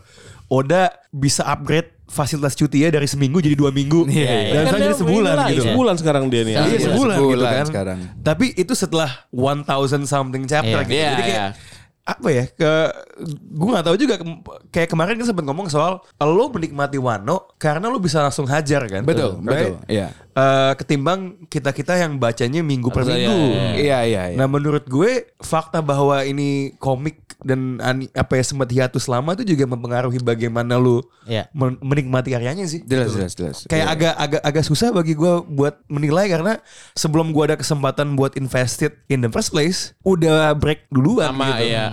Speaker 3: Oda bisa upgrade fasilitas cuti ya dari seminggu jadi dua minggu dan
Speaker 4: Kan
Speaker 3: sekarang
Speaker 4: dia
Speaker 3: jadi sebulan
Speaker 4: inilah,
Speaker 3: gitu.
Speaker 4: Sebulan sekarang dia nih.
Speaker 5: Iya,
Speaker 3: Iya
Speaker 6: Iya,
Speaker 3: sebulan, gitu
Speaker 6: sebulan
Speaker 3: kan.
Speaker 6: sekarang.
Speaker 3: Tapi itu setelah 1000 something chapter
Speaker 5: Iya.
Speaker 3: gitu.
Speaker 5: Iya,
Speaker 3: Jadi kayak
Speaker 5: iya.
Speaker 3: apa ya? Ke gue nggak tahu juga Kem- kayak kemarin kan sempat ngomong soal lo menikmati Wano karena lo bisa langsung hajar kan.
Speaker 6: Betul,
Speaker 3: Right?
Speaker 6: betul, iya.
Speaker 3: Eh, ketimbang kita-kita yang bacanya minggu per
Speaker 4: Harusnya,
Speaker 3: minggu.
Speaker 4: iya, iya.
Speaker 6: Iya iya iya.
Speaker 3: Nah menurut gue fakta bahwa ini komik dan ani, apa ya sempat hiatus lama itu juga mempengaruhi bagaimana lu
Speaker 5: Iya.
Speaker 3: men- menikmati karyanya sih. Gitu.
Speaker 6: Jelas jelas jelas.
Speaker 3: Kayak
Speaker 6: Iya.
Speaker 3: agak agak agak susah bagi gua buat menilai karena sebelum gua ada kesempatan buat invested in the first place, udah break duluan
Speaker 4: Sama,
Speaker 3: gitu.
Speaker 4: iya.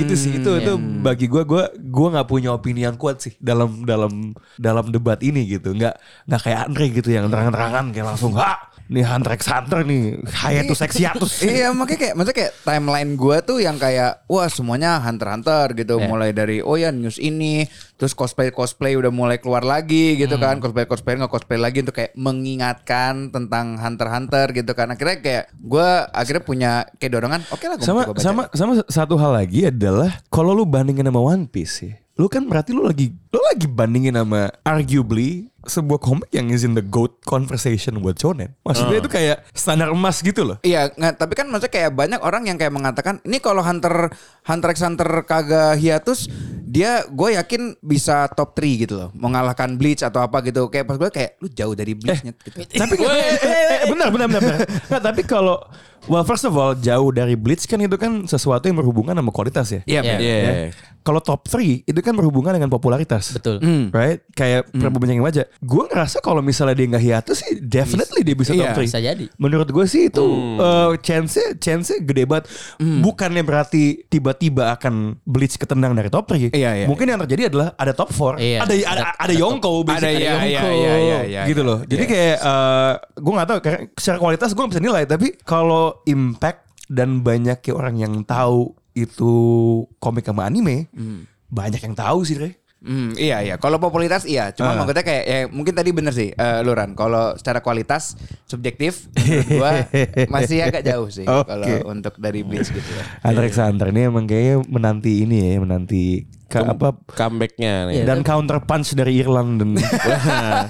Speaker 3: Gitu sih itu itu bagi gua gua gua nggak punya opini yang kuat sih dalam dalam dalam debat ini gitu. Nggak nggak kayak Andre gitu yang terang-terangan kayak langsung ha nih Hunter x Hunter nih hiatus x hiatus.
Speaker 6: Iya makanya kayak maksudnya kayak timeline gua tuh yang kayak wah semuanya hunter hunter gitu
Speaker 3: Iya.
Speaker 6: mulai dari oh ya news ini terus cosplay cosplay udah mulai keluar lagi
Speaker 3: Hmm.
Speaker 6: gitu kan cosplay cosplay nggak cosplay lagi untuk kayak mengingatkan tentang hunter hunter gitu kan akhirnya kayak gua akhirnya punya kayak dorongan oke lah gua
Speaker 3: sama
Speaker 6: gua baca.
Speaker 3: sama sama satu hal lagi adalah kalau lu bandingin sama One Piece sih lu kan berarti lu lagi lu lagi bandingin sama arguably sebuah komik yang is in the goat conversation buat shonen maksudnya itu kayak standar emas gitu loh
Speaker 6: Iya, nggak, tapi kan maksudnya kayak banyak orang yang kayak mengatakan ini kalau Hunter Hunter x Hunter kagak hiatus dia gue yakin bisa top 3 gitu loh mengalahkan Bleach atau apa gitu kayak pas gue kayak lu jauh dari Bleachnya gitu.
Speaker 3: tapi eh, eh, eh, benar benar benar, benar. Nggak, tapi kalau well first of all jauh dari Bleach kan itu kan sesuatu yang berhubungan sama kualitas ya
Speaker 6: Iya,
Speaker 5: Iya.
Speaker 6: iya.
Speaker 3: Ya. Kalau top 3 itu kan berhubungan dengan popularitas.
Speaker 5: Betul.
Speaker 6: Hmm.
Speaker 3: Right? Kayak perbincangan aja. Gue ngerasa kalau misalnya dia nggak hiatus sih definitely dia bisa
Speaker 6: Iya.
Speaker 3: top 3.
Speaker 5: Bisa jadi.
Speaker 3: Menurut gue sih itu eh, chance-nya chance-nya gede banget.
Speaker 6: Hmm.
Speaker 3: Bukannya berarti tiba-tiba akan Bleach ketendang dari top 3.
Speaker 6: Iya, iya,
Speaker 3: Mungkin yang terjadi adalah ada top 4,
Speaker 5: Iya.
Speaker 3: ada ada
Speaker 5: Ada-
Speaker 3: ada Yonko
Speaker 6: Ada iya,
Speaker 3: basically.
Speaker 6: iya,
Speaker 3: Yonko,
Speaker 6: iya, iya, iya,
Speaker 3: gitu
Speaker 6: iya.
Speaker 3: loh. Jadi
Speaker 6: Iya.
Speaker 3: kayak eh gue nggak tahu kayak secara kualitas gue nggak bisa nilai tapi kalau impact dan banyak ya orang yang tahu itu komik sama anime banyak yang tahu sih Re.
Speaker 6: Hmm, iya iya. Kalau popularitas iya, cuma maksudnya kayak ya, mungkin tadi bener sih eh, Luran. Kalau secara kualitas subjektif menurut gua masih agak jauh sih
Speaker 3: Oke.
Speaker 6: kalau untuk dari Bleach gitu ya.
Speaker 3: Hunter x Hunter ini emang kayaknya menanti ini ya menanti ke, apa
Speaker 4: Comebacknya nih.
Speaker 5: Iya.
Speaker 3: dan counter punch dari Irland dan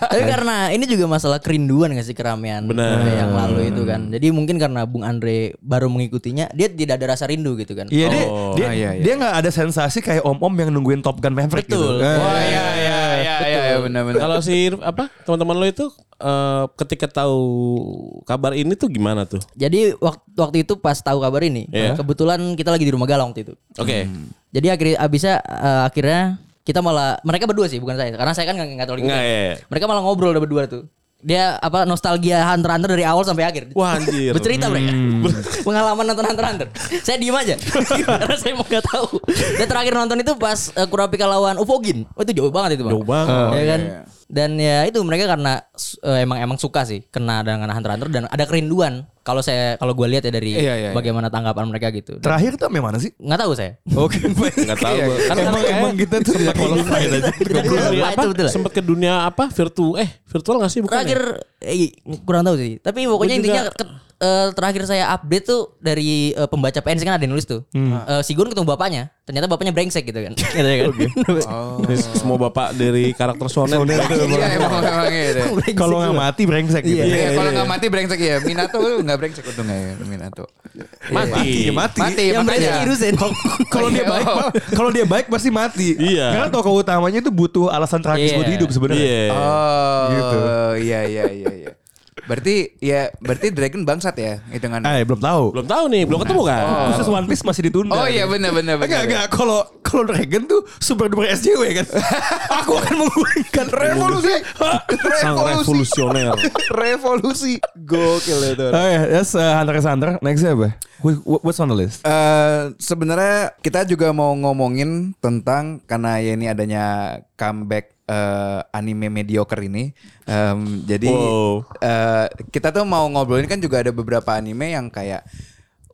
Speaker 5: Tapi karena ini juga masalah kerinduan gak sih keramaian
Speaker 4: Benar.
Speaker 5: yang lalu itu kan. Jadi mungkin karena Bung Andre baru mengikutinya, dia tidak ada rasa rindu gitu kan.
Speaker 3: Iya dia
Speaker 4: Oh,
Speaker 6: ah,
Speaker 3: dia
Speaker 6: iya, iya.
Speaker 3: dia nggak ada sensasi kayak om-om yang nungguin Top Gun Maverick
Speaker 5: Betul.
Speaker 3: gitu. Eh,
Speaker 6: Oh iya iya iya iya iya, benar-benar.
Speaker 4: Kalau si apa teman-teman lo itu eh, ketika tahu kabar ini tuh gimana tuh?
Speaker 5: Jadi waktu waktu itu pas tahu kabar ini,
Speaker 4: Iya.
Speaker 5: kebetulan kita lagi di rumah galang waktu itu.
Speaker 4: Oke.
Speaker 5: Jadi akhirnya abisnya eh, akhirnya kita malah mereka berdua sih bukan saya karena saya kan nggak nggak terlalu
Speaker 4: Nggak, iya, iya.
Speaker 5: Mereka malah ngobrol udah berdua tuh. Dia apa nostalgia Hunter x Hunter dari awal sampai akhir.
Speaker 4: Wah, anjir. Hmm.
Speaker 5: Bercerita mereka. [laughs] Pengalaman nonton Hunter x Hunter. Saya diem
Speaker 4: [laughs]
Speaker 5: aja. karena saya mau nggak tahu. Dan terakhir nonton itu pas eh, Kurapika lawan Ufogin. Oh, itu jauh banget itu, Bang.
Speaker 4: Jauh banget.
Speaker 5: ya kan? Dan ya itu mereka karena su- eh, emang emang suka sih kena dengan Hunter x Hunter dan ada kerinduan. Kalau saya kalau gue lihat ya dari
Speaker 6: Iya, iya, iya.
Speaker 5: bagaimana tanggapan mereka gitu.
Speaker 3: Terakhir tuh memang mana sih?
Speaker 5: Nggak tahu saya.
Speaker 3: Oke,
Speaker 4: Nggak tahu. gua.
Speaker 6: Iya, Kan
Speaker 4: Karena
Speaker 3: Kan emang
Speaker 4: kayak
Speaker 3: emang kita tuh tidak qualified aja.
Speaker 5: Tidak
Speaker 4: ke dunia
Speaker 5: lupa,
Speaker 4: apa?
Speaker 5: itu betul.
Speaker 4: Sempet ke dunia apa? Virtual eh virtual nggak sih bukan? ya?
Speaker 5: terakhir eh, kurang tahu sih tapi pokoknya
Speaker 4: Gua juga-
Speaker 5: intinya ke- eh, terakhir saya update tuh dari eh, pembaca PNS kan ada yang nulis tuh Eh, si Gun ketemu bapaknya ternyata bapaknya brengsek gitu kan Gitu ya kan?
Speaker 4: Ini semua bapak dari karakter shonen.
Speaker 6: Iya emang emang gitu.
Speaker 5: Brengsek
Speaker 3: Kalau nggak
Speaker 5: gitu.
Speaker 3: mati brengsek gitu.
Speaker 6: Iya, kalau nggak mati brengsek ya. Minato tuh nggak brengsek untungnya ya Minato.
Speaker 4: Mati.
Speaker 3: Iya, mati.
Speaker 6: Mati
Speaker 5: yang brengsek
Speaker 6: makanya.
Speaker 5: Hiruzen
Speaker 3: gitu Kalau dia baik,
Speaker 6: Oh.
Speaker 3: kalau dia baik pasti mati.
Speaker 4: Iya.
Speaker 3: Karena tokoh utamanya itu butuh alasan tragis
Speaker 5: Iya.
Speaker 3: buat hidup sebenarnya.
Speaker 4: Iya.
Speaker 6: Oh,
Speaker 3: Gitu.
Speaker 6: iya iya iya iya. Berarti ya berarti Dragon bangsat ya hitungannya.
Speaker 3: Eh, belum tahu.
Speaker 4: Belum tahu nih, belum ketemu kan?
Speaker 3: Khusus One Piece masih ditunda.
Speaker 6: Oh iya benar benar
Speaker 3: Enggak,
Speaker 6: benar.
Speaker 3: enggak. Kalau kalau Dragon tuh super duper SJW [laughs] kan. Aku akan menguringkan revolusi. [laughs]
Speaker 4: Sang revolusioner.
Speaker 6: Revolusi. Gokil itu.
Speaker 3: Oh iya, that's uh, Hunter x Hunter. Next apa? Wh- wh- What's on the list?
Speaker 6: Eh sebenarnya kita juga mau ngomongin tentang karena ya ini adanya comeback eh, anime mediocre ini. Em, jadi
Speaker 4: Wow.
Speaker 6: eh, kita tuh mau ngobrolin kan juga ada beberapa anime yang kayak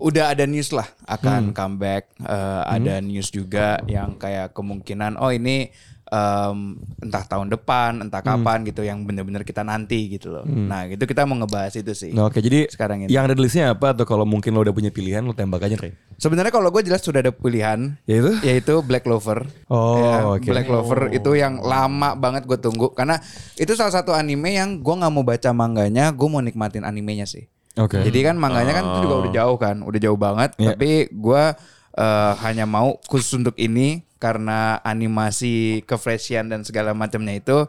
Speaker 6: udah ada news lah
Speaker 3: Hmm.
Speaker 6: akan comeback. Eh, Ada news juga yang kayak kemungkinan oh ini em, entah tahun depan, entah
Speaker 3: Hmm.
Speaker 6: kapan gitu yang bener-bener kita nanti gitu loh. Nah, gitu kita mau ngebahas itu sih.
Speaker 3: Nah, Hmm. Oke jadi
Speaker 6: sekarang ini.
Speaker 3: yang ada di listnya apa atau kalau mungkin lo udah punya pilihan lo tembak aja Rey.
Speaker 6: Sebenarnya kalau gue jelas sudah ada pilihan
Speaker 3: Yaitu?
Speaker 6: yaitu Black Clover.
Speaker 3: Oh, oke.
Speaker 6: Ya, Black Clover itu yang lama banget gue tunggu karena itu salah satu anime yang gue nggak mau baca manganya, gue mau nikmatin animenya sih.
Speaker 3: Oke.
Speaker 6: Jadi kan manganya kan itu juga udah jauh kan, udah jauh banget.
Speaker 3: Iya.
Speaker 6: Tapi gue eh, hanya mau khusus untuk ini karena animasi kefreshian dan segala macamnya itu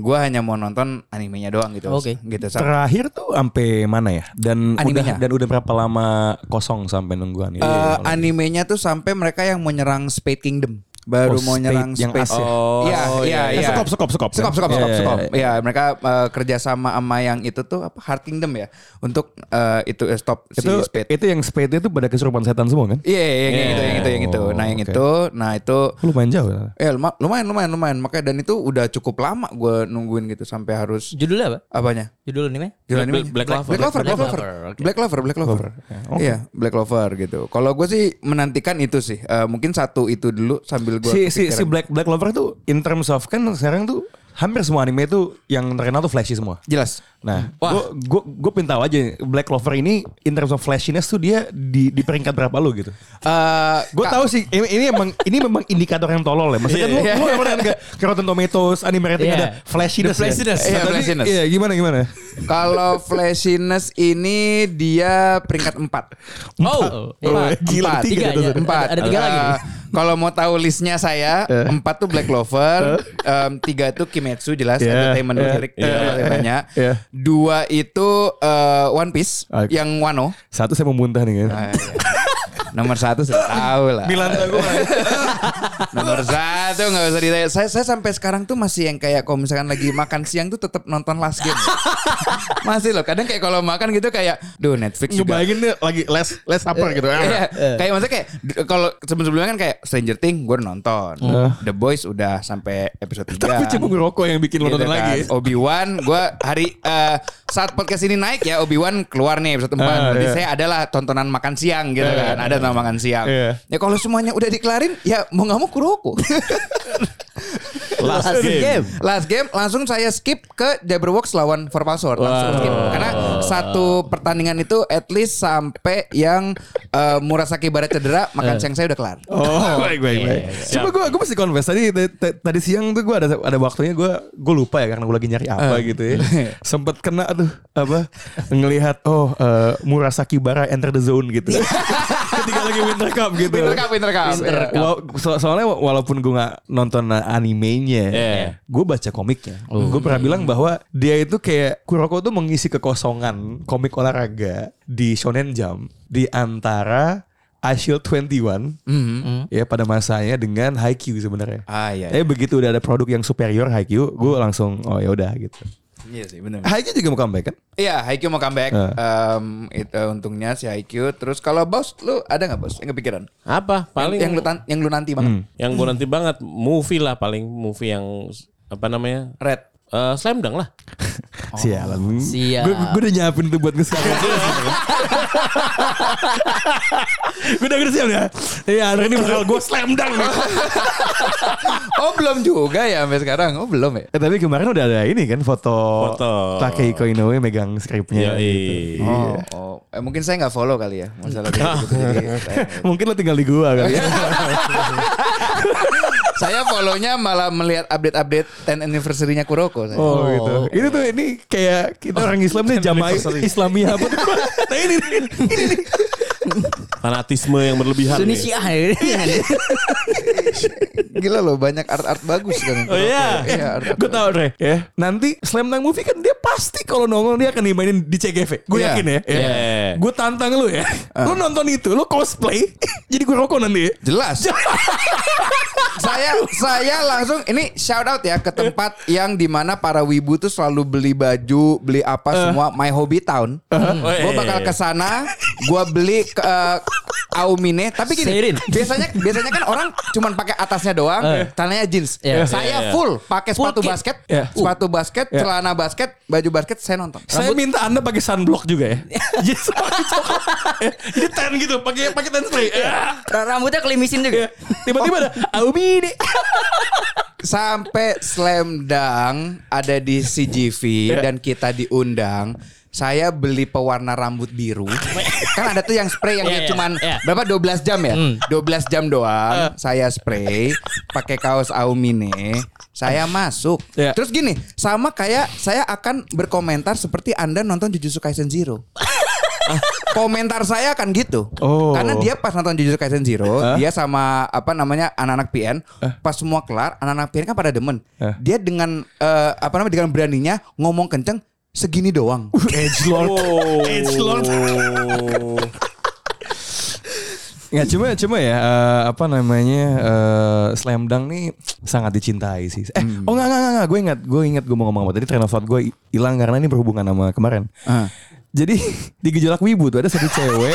Speaker 6: gue hanya mau nonton animenya doang gitu.
Speaker 5: Oke.
Speaker 6: Gitu. Sa-
Speaker 3: Terakhir tuh sampai mana ya? Dan
Speaker 6: Animenya.
Speaker 3: udah dan udah berapa lama kosong sampai Iya. nunggu anime?
Speaker 6: Eh, animenya tuh sampai mereka yang mau nyerang Spade Kingdom baru
Speaker 3: Oh,
Speaker 6: mau
Speaker 3: Spade
Speaker 6: nyerang
Speaker 3: yang
Speaker 6: Spade.
Speaker 3: Asia.
Speaker 4: Oh,
Speaker 6: Iya,
Speaker 4: oh,
Speaker 6: iya,
Speaker 3: iya.
Speaker 6: iya.
Speaker 3: Sekop, sekop, sekop,
Speaker 6: Sekop, sekop,
Speaker 3: kan? Iya,
Speaker 6: sekop,
Speaker 3: iya,
Speaker 6: sekop.
Speaker 3: iya.
Speaker 6: Iya, mereka eh, kerja sama sama yang itu tuh apa Heart Kingdom ya untuk eh, itu eh, stop
Speaker 3: itu
Speaker 6: si Spade.
Speaker 3: itu yang spade itu pada kesurupan setan semua kan?
Speaker 6: Iya, iya, yang itu, yang itu, yang itu.
Speaker 3: Oh,
Speaker 6: Nah, yang
Speaker 3: oke.
Speaker 6: itu, nah itu
Speaker 3: Lumayan jauh. ya.
Speaker 6: eh luma- lumayan lumayan lumayan makanya dan itu udah cukup lama gue nungguin gitu sampai harus
Speaker 5: Judulnya apa?
Speaker 6: apanya
Speaker 5: Judul anime?
Speaker 6: Judul
Speaker 4: Black-
Speaker 6: anime?
Speaker 4: Black Clover.
Speaker 6: Black Clover,
Speaker 5: Black
Speaker 6: Black
Speaker 5: Clover,
Speaker 6: Clover,
Speaker 5: oke.
Speaker 6: Black Clover, Black Clover. Iya, Black Clover gitu. Kalau gue sih menantikan itu sih. Eh, mungkin satu itu dulu sambil gue
Speaker 3: Si si si Black Black Clover tuh in terms of kan sekarang tuh hampir semua anime tuh yang terkenal tuh flashy semua.
Speaker 6: jelas.
Speaker 3: Nah, gue gue pengen tahu aja Black Clover ini in terms of flashiness tuh dia di, di peringkat berapa lu gitu?
Speaker 6: Eh,
Speaker 3: Gue
Speaker 6: Kak-
Speaker 3: tahu sih ini, ini emang ini memang indikator yang tolol ya. Maksudnya lu lu emang ada Rotten Tomatoes anime rating
Speaker 5: Iya.
Speaker 3: ada flashiness.
Speaker 5: The flashiness.
Speaker 3: Ya?
Speaker 6: Iya,
Speaker 3: Nah, tadi-
Speaker 6: flashiness.
Speaker 3: Iya, gimana gimana?
Speaker 6: Kalau flashiness ini dia peringkat 4.
Speaker 5: Oh,
Speaker 6: Empat,
Speaker 3: gila,
Speaker 6: empat, tiga,
Speaker 5: tiga ada-
Speaker 6: empat.
Speaker 5: ada- ada tiga
Speaker 6: Eh,
Speaker 5: lagi.
Speaker 6: Kalau mau tahu listnya saya, empat tuh Black Clover, em, tiga tuh Kimetsu jelas
Speaker 3: Yeah,
Speaker 6: entertainment
Speaker 3: yeah,
Speaker 6: director
Speaker 3: yeah,
Speaker 6: kalau ditanya.
Speaker 3: yeah.
Speaker 6: Dua itu eh, One Piece
Speaker 3: Oke.
Speaker 6: yang Wano.
Speaker 3: Satu saya mau muntah nih kan.
Speaker 6: Eh, Nomor satu sudah tahu lah.
Speaker 3: Milan gue.
Speaker 6: Nomor satu nggak usah ditanya. Saya, saya sampai sekarang tuh masih yang kayak kalau misalkan lagi makan siang tuh tetap nonton last
Speaker 3: [laughs]
Speaker 6: game. masih loh. Kadang kayak kalau makan gitu kayak, duh Netflix juga.
Speaker 3: Ngebayangin dia lagi les les apa gitu.
Speaker 6: Iya, kayak maksudnya kayak d- kalau sebelum-sebelumnya kan kayak Stranger Things gue udah nonton. The Boys udah sampai episode 3.
Speaker 3: Tapi cuma ngerokok yang bikin lo
Speaker 6: Gitu
Speaker 3: nonton
Speaker 6: kan.
Speaker 3: lagi.
Speaker 6: Obi-Wan gue hari eh, saat podcast ini naik ya Obi-Wan keluar nih episode 4.
Speaker 3: Ah,
Speaker 6: Berarti
Speaker 3: iya. Eh,
Speaker 6: saya adalah tontonan makan siang gitu kan. Ada tontonan makan siang.
Speaker 3: Iya.
Speaker 6: Ya kalau semuanya udah dikelarin ya mau gak mau kuroko.
Speaker 5: Last game.
Speaker 6: [laughs] Last game langsung saya skip ke Jabberwock lawan Forpalsor. Langsung skip karena satu pertandingan itu at least sampai yang eh, Murasaki Barat cedera
Speaker 3: Eh.
Speaker 6: makan siang saya udah kelar.
Speaker 3: Oh, [laughs]
Speaker 6: iya,
Speaker 3: baik baik baik. Cuma gue gue mesti confess tadi t- t- tadi siang tuh gue ada ada waktunya gue gue lupa ya karena gue lagi nyari apa
Speaker 6: Eh.
Speaker 3: gitu ya. Sempet kena tuh apa ngelihat oh eh, Murasaki Bara enter the zone
Speaker 6: [laughs]
Speaker 3: gitu. Ketika lagi Winter Cup gitu.
Speaker 6: Winter Cup, Winter Cup. Iya.
Speaker 3: Wa- so- soalnya wa- walaupun gue nggak nonton animenya,
Speaker 4: Iya.
Speaker 3: gue baca komiknya.
Speaker 6: Oh.
Speaker 3: Gue pernah bilang bahwa dia itu kayak Kuroko tuh mengisi kekosongan komik olahraga di Shonen Jump di antara Ashield 21 ya pada masanya dengan Haikyuu sebenarnya.
Speaker 6: Mm-hmm. Ah, iya,
Speaker 3: Tapi begitu udah ada produk yang superior Haikyuu, gue langsung oh ya udah gitu.
Speaker 6: Iya sih benar.
Speaker 3: Haikyuu juga mau comeback kan?
Speaker 6: Iya, Haikyuu mau comeback.
Speaker 3: Eh.
Speaker 6: Em, itu untungnya si Haikyuu. Terus kalau bos lu ada nggak bos? Yang kepikiran?
Speaker 4: Apa? Paling
Speaker 6: yang lu tan- yang lu nanti banget.
Speaker 4: yang gue nanti banget movie lah paling movie yang apa namanya?
Speaker 6: Red.
Speaker 4: Eh, slam dunk lah.
Speaker 3: Oh. Sialan.
Speaker 5: siap.
Speaker 3: Gue gue udah nyiapin tuh buat nge-sekarang. [laughs] gue udah udah siap ya. Iya, hari ini bakal gue slam dunk nih.
Speaker 6: Oh belum juga ya sampai sekarang. Oh belum ya.
Speaker 3: [laughs] Eh, tapi kemarin udah ada ini kan foto,
Speaker 4: Foto.
Speaker 3: Takehiko Inoue megang skripnya.
Speaker 4: Yoi.
Speaker 3: gitu.
Speaker 6: Oh, oh. Eh, mungkin saya nggak follow kali ya masalah kayak gitu. Jadi saya- [laughs]
Speaker 3: Mungkin lo tinggal di gua kali ya.
Speaker 6: Saya follownya malah melihat update-update 10 anniversary-nya Kuroko saya.
Speaker 3: Oh, gitu. Ini tuh ini kayak kita orang Islam nih jamaah Islamiyah apa tuh? [laughs] Nah, ini, ini, ini, ini.
Speaker 4: Fanatisme yang berlebihan. gitu.
Speaker 5: Sunni
Speaker 4: nih.
Speaker 5: Syiah.
Speaker 6: Gila loh banyak art-art bagus kan.
Speaker 4: Oh iya.
Speaker 6: Iya, art-art.
Speaker 3: Gue tau Dre ya. Nanti Slam Dunk Movie kan dia pasti kalau nongol dia akan dimainin di CGV. Gue
Speaker 6: Iya.
Speaker 3: yakin ya. ya.
Speaker 4: Iya.
Speaker 3: Gue tantang lu ya. Lu nonton itu, lu cosplay. [laughs] jadi gue rokok nanti. ya.
Speaker 5: [laughs]
Speaker 6: Jelas. saya saya langsung ini shout out ya ke tempat yang dimana para wibu tuh selalu beli baju, beli
Speaker 5: Eh.
Speaker 6: apa semua. My Hobby Town.
Speaker 5: Oh, iya,
Speaker 6: Gue bakal ke sana. Gue beli ke, eh, Aumine. Tapi gini,
Speaker 5: Seirin.
Speaker 6: biasanya biasanya kan orang cuman pakai atasnya doang, celananya jeans.
Speaker 5: Iya.
Speaker 6: Saya
Speaker 4: Iya, iya.
Speaker 6: full pakai
Speaker 5: Full
Speaker 6: sepatu
Speaker 5: kit.
Speaker 6: basket,
Speaker 3: Iya.
Speaker 6: sepatu basket,
Speaker 3: Iya.
Speaker 6: celana basket, baju basket. Saya nonton.
Speaker 3: Saya minta anda pakai sunblock juga ya. Jadi pakai coklat. [laughs] Ya, Jadi tan gitu, pakai
Speaker 5: Iya.
Speaker 3: pakai tan spray. Ya.
Speaker 5: Rambutnya kelimisin juga.
Speaker 3: Tiba-tiba ada Aumi ini.
Speaker 6: sampai slam dunk ada di CGV
Speaker 5: Iya.
Speaker 6: dan kita diundang. Saya beli pewarna rambut biru. kan ada tuh yang spray yang
Speaker 5: Iya,
Speaker 6: dia
Speaker 5: iya,
Speaker 6: cuman
Speaker 5: iya. Hmm.
Speaker 6: berapa 12 jam ya? 12 jam doang. Saya spray pakai kaos Aumine. Saya masuk.
Speaker 3: Iya.
Speaker 6: Terus gini, sama kayak saya akan berkomentar seperti Anda nonton Jujutsu Kaisen Zero. Komentar saya akan gitu.
Speaker 3: Oh.
Speaker 6: Karena dia pas nonton Jujutsu Kaisen Zero, dia sama apa namanya anak-anak PN, pas semua kelar, anak-anak PN kan pada demen.
Speaker 3: Eh.
Speaker 6: Dia dengan eh, apa namanya dengan beraninya ngomong kenceng segini doang.
Speaker 3: Edge Lord. Edge Lord. [laughs] Nggak cuma cuma ya eh, apa namanya eh, slam dunk nih sangat dicintai sih. Eh
Speaker 6: Hmm.
Speaker 3: oh nggak nggak nggak, nggak gue ingat gue ingat gue mau ngomong apa tadi train of thought gue hilang karena ini berhubungan sama kemarin.
Speaker 6: Ah.
Speaker 3: Jadi [laughs] di gejolak wibu tuh ada satu
Speaker 6: [laughs]
Speaker 3: cewek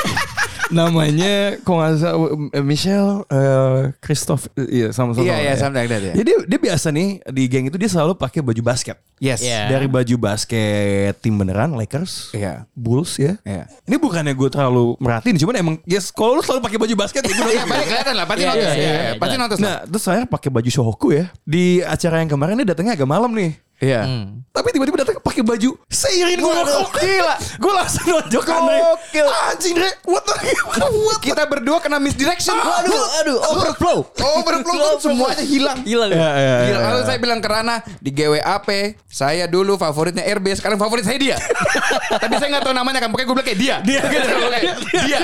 Speaker 3: namanya kok nggak salah eh, Michelle eh, Christoph iya sama sama
Speaker 6: Iya, iya, something like that, ya.
Speaker 3: jadi dia biasa nih di geng itu dia selalu pakai baju basket
Speaker 6: Yes.
Speaker 5: Iya.
Speaker 3: dari baju basket tim beneran Lakers,
Speaker 6: Iya.
Speaker 3: Bulls ya.
Speaker 6: Iya.
Speaker 3: Ini bukannya gue terlalu merhatiin, cuman emang ya kalau lu selalu pakai baju basket ya gue
Speaker 6: Iya, pasti kelihatan lah, pasti
Speaker 5: Iya,
Speaker 6: notice.
Speaker 5: iya,
Speaker 6: Iya,
Speaker 5: iya,
Speaker 6: iya,
Speaker 5: iya,
Speaker 6: Pasti
Speaker 5: jelas.
Speaker 6: notice. lah.
Speaker 3: Nah, terus saya pakai baju shohoku ya. Di acara yang kemarin dia datangnya agak malam nih. Hmm.
Speaker 6: Iya.
Speaker 3: Tapi tiba-tiba datang pakai baju seirin gue
Speaker 6: Gila.
Speaker 3: Gue langsung nonjok kan Dre.
Speaker 6: Gokil.
Speaker 3: Anjing Dre, what the
Speaker 6: [laughs]
Speaker 3: what the-
Speaker 6: Kita berdua kena misdirection.
Speaker 5: Aduh, aduh, overflow.
Speaker 6: Overflow kan Iya. semuanya hilang.
Speaker 5: Hilang.
Speaker 3: Ya, ya, ya,
Speaker 6: Gila,
Speaker 3: ya.
Speaker 6: lalu saya bilang ke Rana di GWAP, saya dulu favoritnya RB, sekarang favorit saya
Speaker 3: [laughs]
Speaker 6: dia. Tapi saya nggak tahu namanya kan, pokoknya gue bilang kayak dia. Dia.
Speaker 3: gitu.
Speaker 6: dia.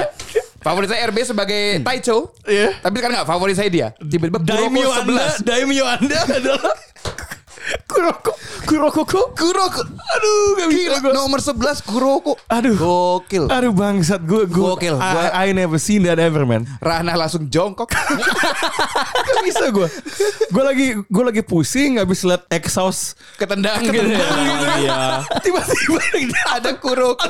Speaker 6: Favorit saya RB sebagai
Speaker 3: Hmm.
Speaker 6: Taicho, tapi sekarang nggak favorit saya dia. Tiba-tiba
Speaker 3: Iya. Daimyo
Speaker 6: Kuroko
Speaker 3: Anda,
Speaker 6: 11.
Speaker 3: daimyo Anda adalah Kuroko, Kuroko,
Speaker 6: Kuroko,
Speaker 3: Aduh, gak
Speaker 6: gila,
Speaker 3: bisa gua.
Speaker 6: nomor 11 Kuroko.
Speaker 3: Aduh.
Speaker 6: Gokil.
Speaker 3: Aduh bangsat gue gue
Speaker 6: Gokil, gua-
Speaker 3: I, I never seen that ever man.
Speaker 6: Rana langsung
Speaker 3: [laughs]
Speaker 6: jongkok.
Speaker 3: Gak bisa gue. Gue lagi gue lagi pusing habis liat exhaust
Speaker 6: Ketendang gitu.
Speaker 4: Iya.
Speaker 3: tiba-tiba
Speaker 6: Ada Kuroko.